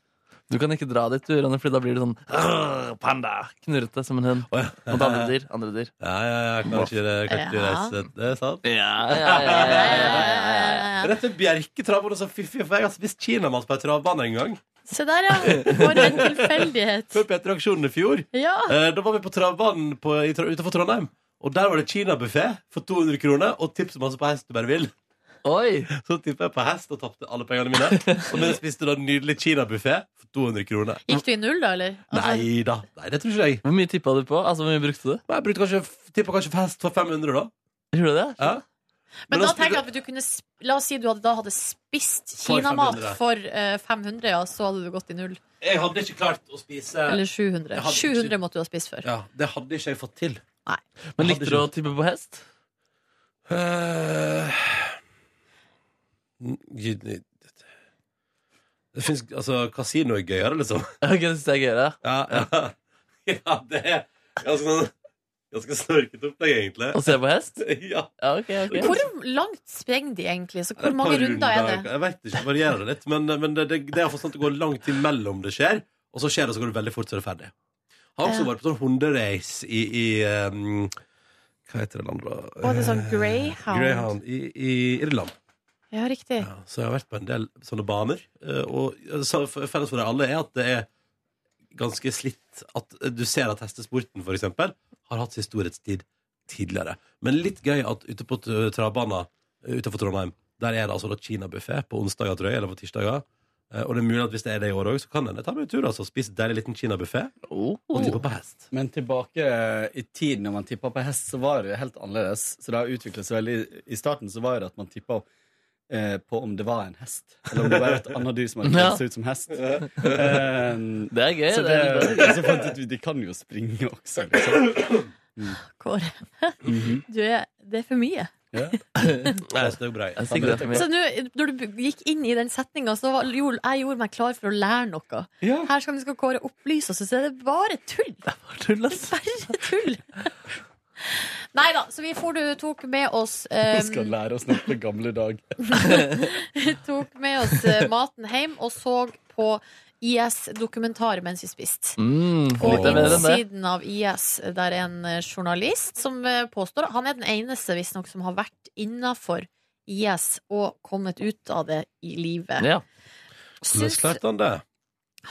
Du kan ikke dra dit, du, Ronny, fordi da blir du sånn «Åh, Panda! Knurrete som en hund. Mot andre dyr. Andre dyr.
Ja, ja, ja. Kan ikke, kan ikke
Ja.
reise Det er sant?
Ja, ja, ja, ja,
Rett til Bjerketrav. Så fiffig, for jeg har spist kinamat på en travbane en gang.
Se der, ja. For en tilfeldighet.
Før Peter Aksjonen i fjor.
Ja.
Eh, Da var vi på travbanen på, i, Tr- utenfor Trondheim. Og der var det kinabuffé for 200 kroner og tips masse på hest du bare vil.
Oi.
Så tippa jeg på hest og tapte alle pengene mine. Og men jeg spiste da en nydelig kinabuffé for 200 kroner.
Gikk du i null, da, eller? Altså,
Altså-
Nei da. Nei, det tror ikke jeg.
Hvor mye tippa du på? Altså, hvor mye brukte du?
Jeg brukte kanskje, tippa kanskje for hest for 500, da.
Gjorde du det?
Ja.
Men
Men
da
da
tenker jeg at du kunne sp- La oss si du hadde, da hadde spist
For
kinamat
500.
for eh, 500, ja, så hadde du gått i null.
Jeg hadde ikke klart å spise
Eller 700.
Jeg hadde ikke-
700 måtte du ha spist før.
Ja, Det hadde ikke jeg fått til.
Nei.
Men likte du å tippe på hest?
Øh, Det fins Altså, kasino er gøyere, liksom.
Ok, det synes jeg er gøyere.
Ja, ja. ja det er ganske sånn Ganske snorkete opplegg, egentlig.
Å se på hest?
Ja.
ja ok, ok.
Hvor langt spreng de egentlig? Så
Det er
Altså, hvor mange
et par
runder er det?
Jeg vet ikke, det varierer litt. Men, men det, det, det er for sånn at det går langt imellom det skjer, og så skjer det, så går det veldig fort, så er det ferdig. Han har også
Ja.
vært på sånn hunderace i, i um, Hva heter det landet, da?
Å, det er sånn
Eh,
greyhound.
Greyhound i, i Irland.
Ja, riktig.
Så jeg har vært på en del sånne baner. eh, Og så f- felles for det alle er at det er ganske slitt at eh, du ser at hestesporten, for eksempel, har hatt sin storhetstid tidligere. Men litt gøy at ute på t- travbanen eh, utenfor Trondheim, der er det altså da kinabuffé på onsdager, tror jeg, eller på tirsdager. Eh, Og det er mulig at hvis det er det i år òg, så kan en ta meg en tur altså, og spise en deilig liten kinabuffé.
Oh.
Oh.
Og tippe på hest.
Men tilbake eh, i tiden når man tippa på hest, så var det helt annerledes. Så det har utviklet seg veldig. I starten så var det at man tippa eh, på om det var en hest, eller om det var et annet dyr som hadde
Ja.
kledd seg ut som hest.
Ja.
Eh,
Det er gøy,
Så,
det er litt bra.
så fant jeg ut at de kan jo springe også, liksom. Mm.
Kåre.
Mhm.
Du er Det er for mye.
Nei, så det er jo bra.
Jeg sikkert det
Så
er for mye.
nå, når du gikk inn i den setninga, så var, jo, jeg gjorde meg klar for å lære noe.
Ja.
Her skal, skal Kåre opplyse oss, og så er det bare tull. Det er
bare tull,
Bare tull. Nei da, så vi for, du tok med oss eh,
Vi skal lære oss noe på gamle dag.
tok med oss eh, maten hjem og så på IS-dokumentar mens vi spiste.
Mm,
På
litt er bedre enn det.
innsiden av IS, der er en eh, journalist som eh, påstår Han er den eneste, visstnok, som har vært innafor IS og kommet ut av det i livet.
Ja.
Syns-
Men klarte han det?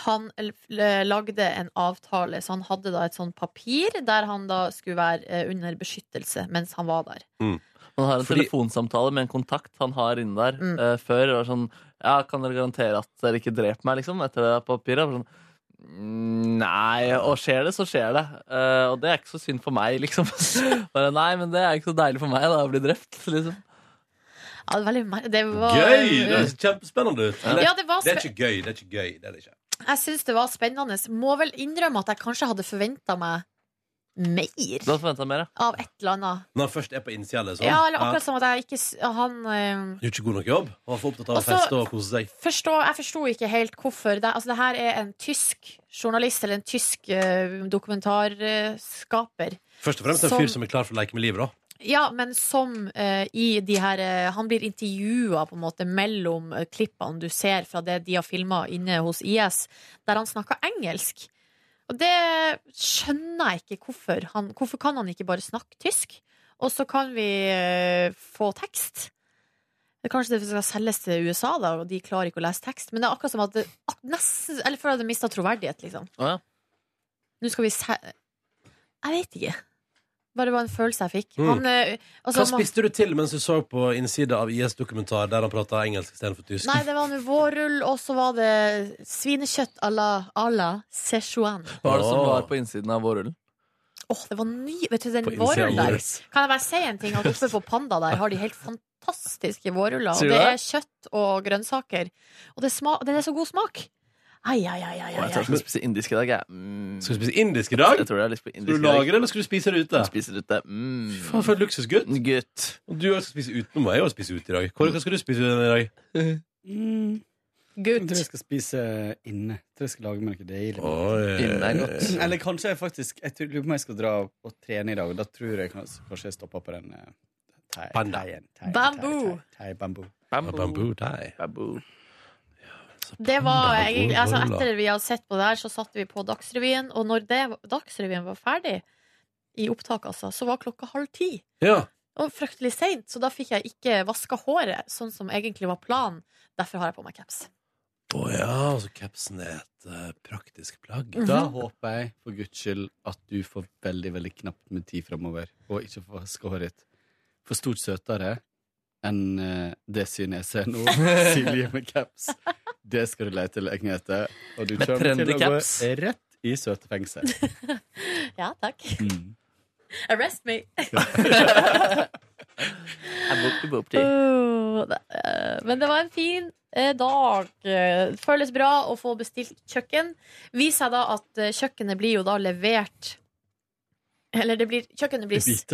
han l- l- lagde en avtale, så han hadde da et sånn papir der han da skulle være eh, under beskyttelse mens han var der.
Man har en telefonsamtale med en kontakt han har inne der
Mm.
eh, før. Og sånn, ja, kan dere garantere at dere ikke dreper meg, liksom, etter det papiret? Og Sånn, «Mm, nei, og skjer det, så skjer det. Eh, og det er ikke så synd for meg, liksom. Bare, nei, men det er ikke så deilig for meg da, å bli drept, liksom.
Ja, det var veldig mer det var, eh,
Gøy! Det er kjempespennende ut.
Ja, det var
det er
spe-
ikke gøy. Det er ikke
Mm.
gøy. Det er det ikke.
Jeg syns det var spennende. Må vel innrømme at jeg kanskje hadde forventa meg mer
Du hadde forventa mer, ja.
av et eller annet.
Når han først er på innsida, liksom.
Ja, eller akkurat som at jeg ikke s- Han eh,
Gjorde ikke god nok jobb. Han var for opptatt av å
Og så-
feste og kose seg.
forstå, Jeg forsto ikke helt hvorfor det, altså, det her er en tysk journalist, eller en tysk eh, dokumentarskaper.
Først og fremst en
Som-
fyr som er klar for å leke med livet, da.
Ja, men som eh, i de her eh, Han blir intervjua på en måte mellom eh, klippene du ser fra det de har filma inne hos IS, der han snakker engelsk. Og det skjønner jeg ikke hvorfor. Han, hvorfor kan han ikke bare snakke tysk? Og så kan vi eh, få tekst. Det er Kanskje det skal selges til USA, da, og de klarer ikke å lese tekst. Men det er akkurat som at det, ak nesten, Eller før hadde mista troverdighet, liksom.
Å, ja.
Nå skal vi se... Jeg vet ikke. Bare var en følelse jeg fikk.
Mm.
Han, eh, altså,
Hva spiste du til mens du så på innsida av IS-dokumentar der han prata engelsk istedenfor tysk?
Nei, det var med vårrull, og så var det svinekjøtt à la, à la Sichuan.
Hva var det som
Åh.
var på innsiden av vårrullen?
Åh, det var ny Vet du, den
På innsiden
vårrullen
av
der
vårrull.
Kan jeg bare si en ting? At oppe på Panda der har de helt fantastiske vårruller.
Sier
Og
du
det
det?
er kjøtt og grønnsaker. Og det sma den er så god smak. Ai, ai, ai, ai,
Åh,
ai,
Jeg tror jeg
ai.
skal spise indisk i dag. Jeg. Mm.
Skal du spise indisk i dag?
Jeg tror jeg har lyst på indisk
Skal du lage det, eller skal du spise det ute?
Spise det ute. Mm.
Fy faen, for en luksusgutt.
Gutt.
Og du skal spise uten meg og spise ute i dag. Kåre, hva skal du spise i dag?
Jeg tror jeg skal spise inne. Jeg tror jeg skal lage meg noe deilig.
Oi. Inne er godt.
Eller kanskje jeg faktisk Jeg tror- lurer på om jeg skal dra og trene i dag, og da tror jeg kanskje, kanskje jeg stopper på den eh, thai- thaien. Thai-
Bambu.
thai- Bambu.
Bambu.
Bambu thai.
Bambu.
Det var
Panda,
egentlig altså,
vårruller.
Etter vi hadde sett på det her, så satte vi på Dagsrevyen. Og når det, Dagsrevyen var ferdig, i opptak altså, så var klokka halv ti.
Ja.
Og fryktelig seint, så da fikk jeg ikke vaska håret, sånn som egentlig var planen. Derfor har jeg på meg caps.
Å ja, så capsen er et eh, praktisk plagg.
Mm.
Da
Mhm.
håper jeg for guds skyld at du får veldig veldig knapt med tid framover, og ikke får vaske håret ditt. For stort søtere enn eh, det synet jeg ser nå. Silje med caps. Det skal du lete lenge etter. Og du
Med
kommer til
trendy
å
caps.
gå rett i søtefengselet.
Ja, takk.
Mm.
Arrest me!
Øh.
Åh, det, eh, Men det var en fin eh, dag. Eh, Føles bra å få bestilt kjøkken. Viser seg da at eh, kjøkkenet blir jo da levert Eller det blir Kjøkkenet blir s-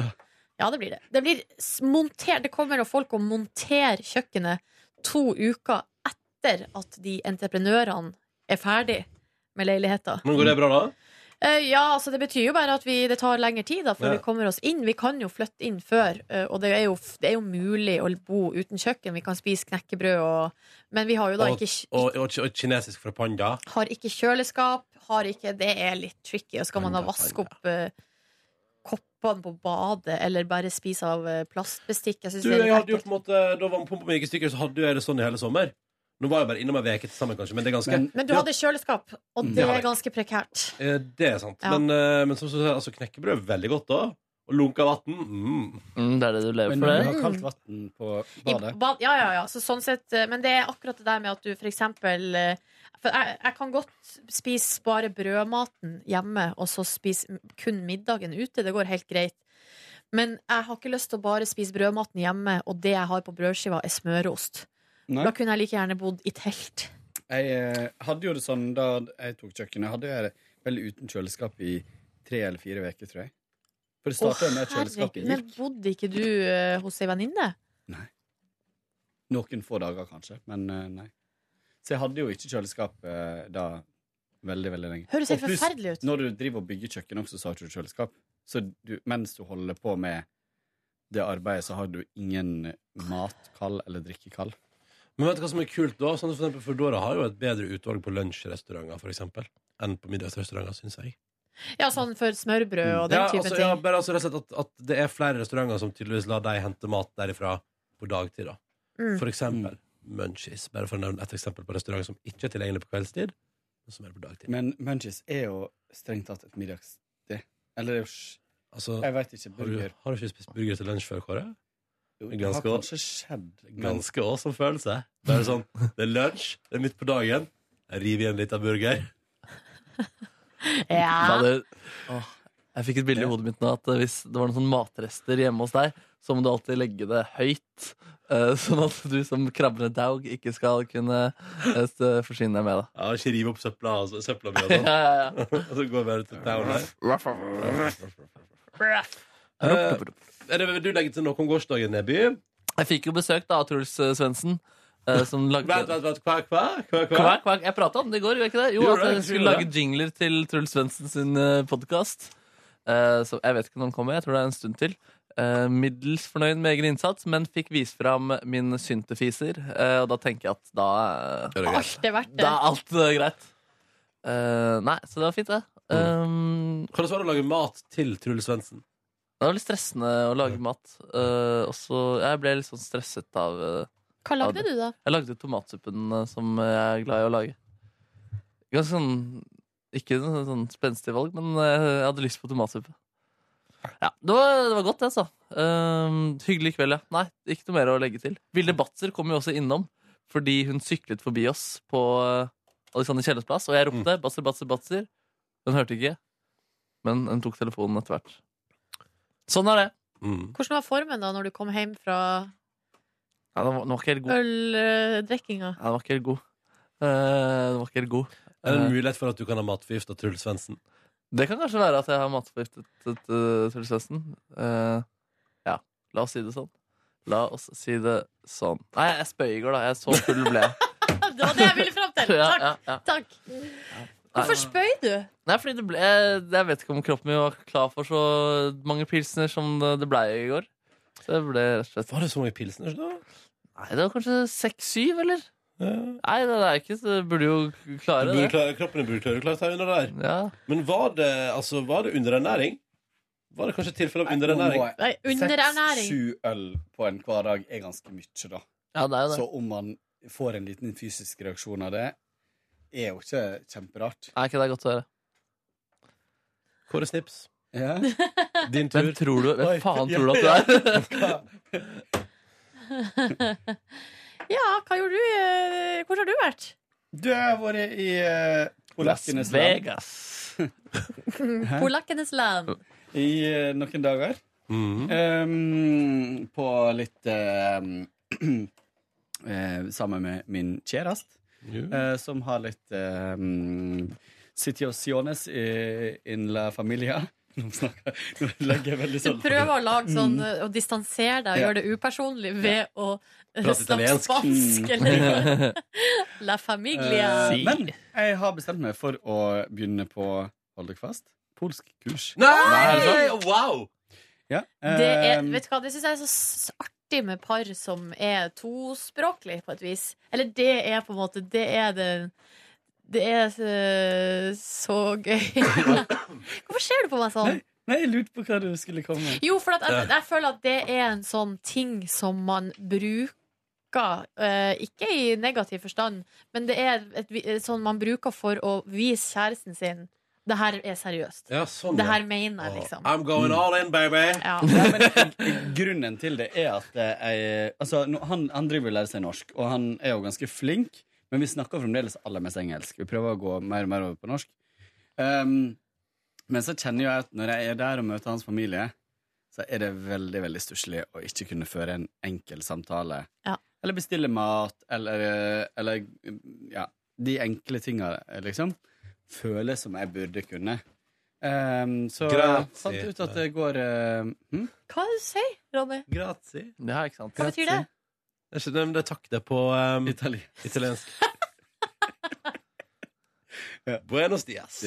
Ja, det blir det. Det blir s- monter, Det kommer jo folk og monterer kjøkkenet to uker etter at de entreprenørene er ferdig med leiligheta.
Men går det bra, da?
Eh, Ja, altså det betyr jo bare at vi, det tar lengre tid da før
Ja.
vi kommer oss inn. Vi kan jo flytte inn før, eh, og det er, jo, det er jo mulig å bo uten kjøkken. Vi kan spise knekkebrød og Men vi har jo da
Og,
ikke, kj-
og, og, og kinesisk fra panda?
har ikke kjøleskap. Har ikke, det er litt tricky. Og skal man da vaske opp eh, koppene på badet, eller bare spise av eh, plastbestikk? Jeg synes
Du,
det er
jeg
litt
hadde jo på en måte Da vannpumpa mi gikk i stykker, så hadde jeg det sånn i hele sommer. Nå var jeg bare innom ei uke til sammen, kanskje, men det er ganske
ekkelt. Men du
Ja,
hadde kjøleskap, og
Det
det
har jeg.
er ganske prekært.
eh, Det er sant.
Ja.
Men, eh, men som du sier, altså, knekkebrød er veldig godt, da. Og lunka vann. Mm.
det er det du lever
Men
for,
når
det.
du har kaldt vann på badet
Bad, ja, ja, ja. Så sånn sett, eh, men det er akkurat det der med at du for eksempel eh, for jeg, jeg kan godt spise bare brødmaten hjemme, og så spise m- kun middagen ute. Det går helt greit. Men jeg har ikke lyst til å bare spise brødmaten hjemme, og det jeg har på brødskiva, er smørost.
Nei.
Da kunne jeg like gjerne bodd i telt.
Jeg eh, hadde jo det sånn da jeg tok kjøkkenet. Hadde jeg det vel uten kjøleskap i tre eller fire uker, tror jeg. For det starta med at kjøleskapet
herregud, men
gikk
bodde ikke du eh, hos ei venninne?
noen få dager, kanskje. Men eh, nei. Så jeg hadde jo ikke kjøleskap eh, da veldig, veldig lenge.
Høres helt
Og pluss,
forferdelig ut.
Når du driver og bygger kjøkken også, så har du ikke kjøleskap. Så du, mens du holder på med det arbeidet, så har du ingen mat kald eller drikke kald.
Men vet du hva som er kult, da? Sånn, for eksempel Foodora har jo et bedre utvalg på lunsjrestauranter for eksempel, enn på middagsrestauranter, syns jeg.
Ja, sånn for smørbrød og den
ja,
type
altså,
ting.
ja, bare altså, rett og slett at, at det er flere restauranter som tydeligvis lar deg hente mat derifra på dagtid. Da.
Mm.
For eksempel Munchies, bare for å nevne et eksempel på restaurant som ikke er tilgjengelig på kveldstid. Men som er på dagtid.
Men munchies er jo strengt tatt et middagssted. Eller det er jo sj-
Altså,
Jeg veit ikke.
Har du,
Burger.
har du ikke spist burger til lunsj før, Kåre?
Jo,
Det er
det har
ganske å-
kanskje skjedd, men-
Ganske å som følelse. Det er sånn, det er lunsj, det er midt på dagen, jeg river i en liten burger.
Ja.
Fader. Åh, Jeg fikk et bilde i hodet mitt nå at eh, hvis det var noen sånne matrester hjemme hos deg, så må du alltid legge det høyt, eh, sånn at du som krabbende daug ikke skal kunne eh, s- forsyne deg med det.
Ja, ikke rive opp søpla, altså, søpla mi og sånn.
ja, Eh, ja, ja.
Og så går vi bare til down her. Eh, er det, vil du legge til noe om gårsdagen, Neby?
Jeg fikk jo besøk da av Truls eh, Svendsen. eh, Som lagde
Vent, vent, vent. Kvakk, kvakk? Kvakk,
Kvakk, kvakk. Jeg prata om det i går, gjorde jeg ikke det? Jo,
Gjorde
at
det,
jeg skulle
gjorde
lage jingler til Truls Svendsen sin podkast. Så jeg vet ikke når den kommer. Jeg tror det er en stund til. Eh, Middels fornøyd med egen innsats, men fikk vise fram min syntefiser. eh, Og da tenker jeg at da eh,
Alt er verdt det.
Da er alt eh, greit. Eh, Nei, så det var fint, det. Um,
Hvordan var det å lage mat til Truls Svendsen?
Det var litt stressende å lage mat. Eh, og så Jeg ble litt sånn stresset av eh,
Hva lagde
av det.
du da?
Jeg lagde tomatsuppen eh, som jeg er glad i å lage. Ganske sånn Ikke noe sånn spenstig valg, men eh, jeg hadde lyst på tomatsuppe. Ja, Det var, det var godt, det, altså. Eh, hyggelig kveld, ja. Nei, ikke noe mer å legge til. Vilde Batzer kom jo også innom fordi hun syklet forbi oss på eh, Alexander Kiellands plass, og jeg ropte 'Batzer, Batzer, Batzer'. Hun hørte ikke, men hun tok telefonen etter hvert. Sånn er det.
Mm.
Hvordan var formen da når du kom hjem fra
Ja, den, var, den var ikke helt god.
øldrikkinga?
Ja, den var ikke helt god. Eh, den var ikke helt god.
Er det
Eh,
en mulighet for at du kan ha matforgift av Truls Svendsen?
det kan kanskje være at jeg har matforgiftet eh, Truls Svendsen. Eh, ja, la oss si det sånn. La oss si det sånn. Nei, jeg spøy i går, da. Jeg så full ble jeg.
Det var det jeg ville fram til!
Ja,
Takk!
ja, ja.
Takk. Hvorfor spøy du?
Nei, fordi det ble Jeg vet ikke om kroppen min var klar for så mange pilsner som det det blei i går. Så det ble rett og slett
Var det så mange pilsner? da?
Nei, det var kanskje seks-syv, eller? Nei, det er ikke så det Burde jo klare
Du burde
det.
klare, Eh, kroppen din burde klare, klare å ta under det der. Men var det, altså, var det underernæring? Var det kanskje et tilfelle av underernæring?
Nei,
underernæring.
Seks-sju øl på en hverdag er ganske mye, da.
Ja, det er jo det.
Så om man får en liten fysisk reaksjon av det, er jo ikke kjemperart.
Er ikke det godt å høre?
Kåre Snips.
Ja.
Din tur.
Hvem tror du,
Oi.
hvem faen tror du at du er?
Ja, hva gjorde du? eh, Hvor har du vært?
Du har vært i eh, polakkenes
Las Vegas.
Hæ?
Polakkenes land.
I eh, noen dager. Mhm. Ehm, på litt ehm, eh, Sammen med min kjæreste, eh, som har litt um, Situaciones i- in la familia. Nå snakker nå legger jeg veldig
Du
sånn
prøver å lage sånn eh, å distansere deg og
Ja.
gjøre det upersonlig ved å eh,
Prate
snakke
italiensk.
spansk
Mm.
eller La familia.
Eh, Men jeg har bestemt meg for å begynne på Hold dere fast polsk kurs.
Nei!
er det sant?
Wow!
Ja,
Det er,
eh,
vet du hva, det syns jeg er så s- artig med par som er tospråklig, på et vis. Eller det er på en måte Det er det Det er eh, så gøy. Hvorfor ser du på meg sånn?
Nei, jeg lurte på hva du skulle komme med.
Jo, for at jeg, jeg føler at det er en sånn ting som man bruker. eh, ikke i negativ forstand, men det er et, vi- eh, sånn man bruker for å vise kjæresten sin Det her er seriøst.
Ja, sånn,
det
ja.
her mener jeg, liksom.
I'm going all in, baby!
Nei, Ah. men, grunnen til det er at eh, jeg Altså, nå- han, han driver og lærer seg norsk, og han er jo ganske flink, men vi snakker fremdeles aller mest engelsk. Vi prøver å gå mer og mer over på norsk. Ehm, men så kjenner jeg at når jeg er der og møter hans familie, så er det veldig veldig stusslig å ikke kunne føre en enkel samtale.
Ja.
Eller bestille mat, eller, eh, eller Ja, de enkle tinga, eh, liksom. Føles som jeg burde kunne. Ehm, så jeg
Grazie.
fant ut at det går eh, hm?
Hva er det du sier, Ronny?
Grazie.
Ja, ikke sant?
Hva betyr det?
Det er ikke det, men det er takk det på um, italiensk. Buenos dias.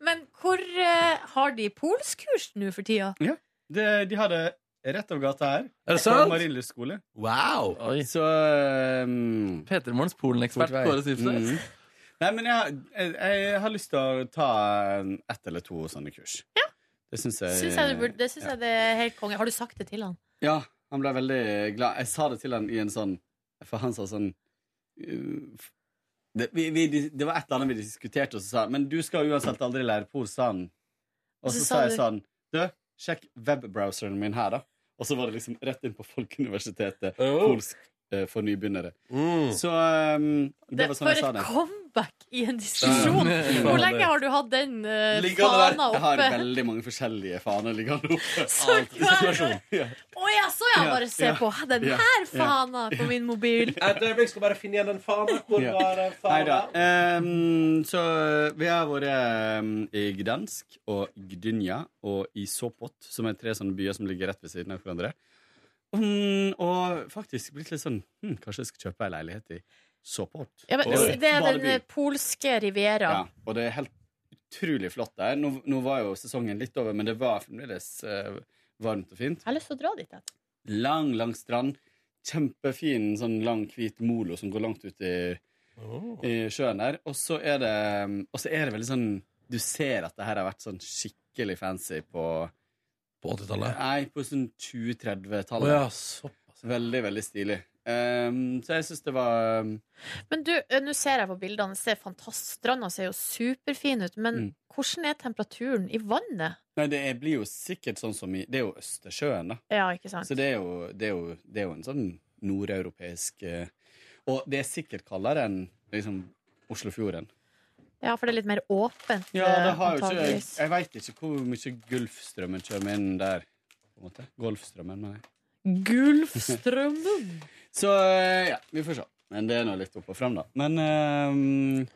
Men hvor eh, har de polskurs nå for tida?
Ja. Det, de har det rett over gata her.
Er det sant?
På Marienlyst skole.
Wow!
Så um,
Petermorgens Polen-ekspert
Fort vei.
Kåre Sivsnes.
Mhm. Nei, men jeg, har- jeg, jeg har lyst til å ta en- ett eller to sånne kurs. Det syns jeg,
Syns jeg, du burde, det syns jeg det er helt konge. Har du sagt det til han?
Ja, han ble veldig glad. Jeg sa det til han i en sånn For han sa sånn uh, f- det, vi, vi, det var et eller annet vi diskuterte, og så sa han Men du skal uansett aldri lære polsk, sa han. Og
Så
så
sa
sa jeg
du-
sånn Du, sjekk webbrowseren min her, da. Og så var det liksom rett inn på Folkeuniversitetet. Polsk eh, for nybegynnere.
Mm.
Så ehm, det,
Det,
var sånn
for
jeg sa
et
det.
comeback i en diskusjon! Hvor lenge har du hatt den eh,
Ligger det
fana
der? Jeg har
oppe?
veldig mange forskjellige faner liggende oppe.
Så
Alt i situasjonen. Ja.
Å ja, så ja!
Ja,
Bare se
ja,
på den
ja,
her
ja.
fana på min mobil.
Et øyeblikk skal bare finne igjen den fanen. Hvor
Ja.
var den
Nei da.
fanen?
ehm, så vi har vært ehm, i Gdansk og Gdynia og i Sopot, som er tre sånne byer som ligger rett ved siden av hverandre. Mm, og faktisk blitt litt sånn hm, Kanskje jeg skal kjøpe ei leilighet i Sopot?
Ja, men,
Og-
det er den
Badeby.
eh, polske Riviera.
Ja, og det er helt utrolig flott der. Nå, nå var jo sesongen litt over, men det var fremdeles eh, varmt og fint.
Jeg har lyst til å dra dit. Jeg.
Lang, lang strand. Kjempefin sånn lang, hvit molo som går langt ut i, i sjøen der. Og så er det Og så er det veldig sånn Du ser at det her har vært sånn skikkelig fancy på
På 80-tallet?
Nei, på sånn 20-30-tallet.
Å ja,
veldig, veldig stilig. Ehm, så jeg syns det var
Men du, eh, nå ser jeg på bildene, det ser fantastisk Stranda ser jo superfin ut, men
Mm.
hvordan er temperaturen i vannet?
Nei, det er- blir jo sikkert sånn som i Det er jo Østersjøen, da.
Ja, ikke sant?
Så det er jo, det er jo, det er jo en sånn nordeuropeisk eh, Og det er sikkert kaldere enn liksom, Oslofjorden.
Ja, for det er litt mer åpent,
Ja, det har jo ikke,
antageligvis.
jeg veit ikke hvor mye Gulfstrømmen kommer inn der. På en måte. Golfstrømmen, mener jeg.
Gulfstrømmen!
Så eh, ja, vi får se. Men det er nå litt opp og fram, da. Men, eh,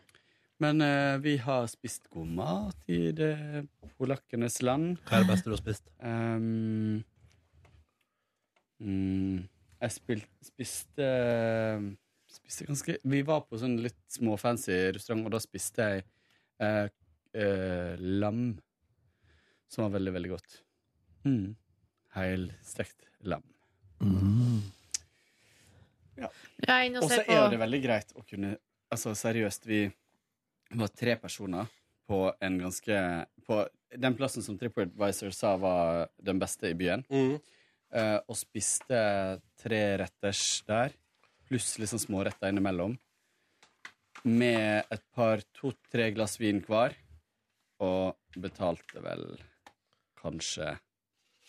men eh, vi har spist god mat i det polakkenes land. Eh,
Hva er det beste du har spist?
Um, mm, jeg spil, spiste eh, Spiste ganske Vi var på sånn litt småfancy restaurant, og da spiste jeg eh, eh, lam. Som var veldig, veldig godt. Mm. Heilstekt lam. Ja.
Jeg er inne
Og
og
så
ser
er
på
jo det veldig greit å kunne Altså seriøst, vi var tre personer på en ganske På den plassen som TripAdvisor sa var den beste i byen. Eh, og spiste tre retters der, pluss litt sånn småretter innimellom. Med et par to-tre glass vin hver, og betalte vel kanskje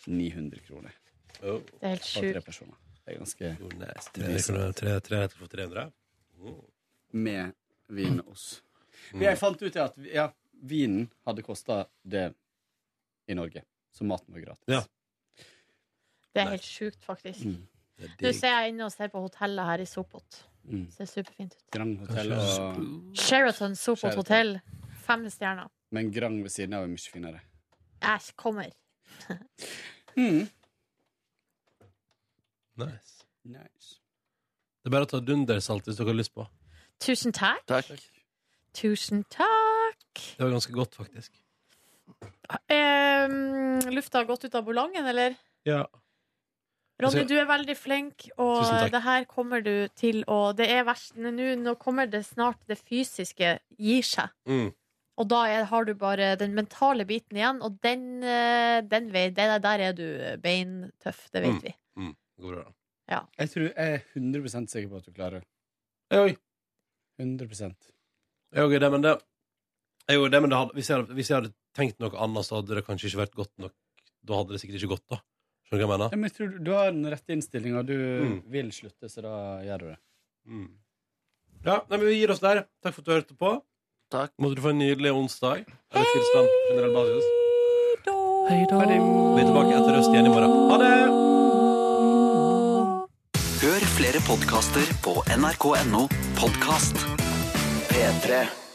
900 kroner.
Det er helt
For tre
sjukt.
personer. Det er ganske
Tre, kroner- tre, tre retter for 300?
med vin og oss. Mm. Men Jeg fant ut at ja, vinen hadde kosta det i Norge, så maten var gratis.
Det er helt sjukt, faktisk.
Mm.
Nå ser jeg inne og ser på hotellet her i Sopot.
Mm.
Ser superfint ut.
Grand hotell og
Sheraton Sopot
Sheraton.
hotell. Fem stjerner.
Men Grand ved siden av er mye finere.
Jeg kommer.
Mm.
Nice.
Nice.
Det er bare å ta dundersalt hvis dere har lyst på.
Tusen takk.
Takk.
Tusen takk.
Det var ganske godt, faktisk.
Eh, lufta har gått ut av ballongen, eller?
Ja.
Ronny,
Altså-
du er veldig flink, og
Tusen takk.
det her kommer du til å Det er verst nå. Nå kommer det snart det fysiske gir seg.
Mm.
Og da er, har du bare den mentale biten igjen, og den, eh, den vei, det der, der er du beintøff, det vet
Mm.
vi.
Mm. Det går bra. da.
Jeg tror jeg er 100 sikker på at du klarer det.
Oi.
100
Ja, ok, det, men det, jo, det, men det hadde, hvis, jeg hadde, hvis jeg hadde tenkt noe annet, så hadde det kanskje ikke vært godt nok. Da hadde det sikkert ikke gått, da. Skjønner du hva jeg
Ja,
mener?
men jeg tror du, du har den rette innstillinga. Du
Mm.
vil slutte, så da gjør du det.
Ja, nei, men Vi gir oss der. Takk for at du hørte på.
Takk.
Måtte du få en nydelig onsdag. Eller tilstand. Generell basis.
Hei da.
Vi er tilbake etter Røst igjen i morgen. Ha det!
Hør flere podkaster på nrk.no podkast. P3.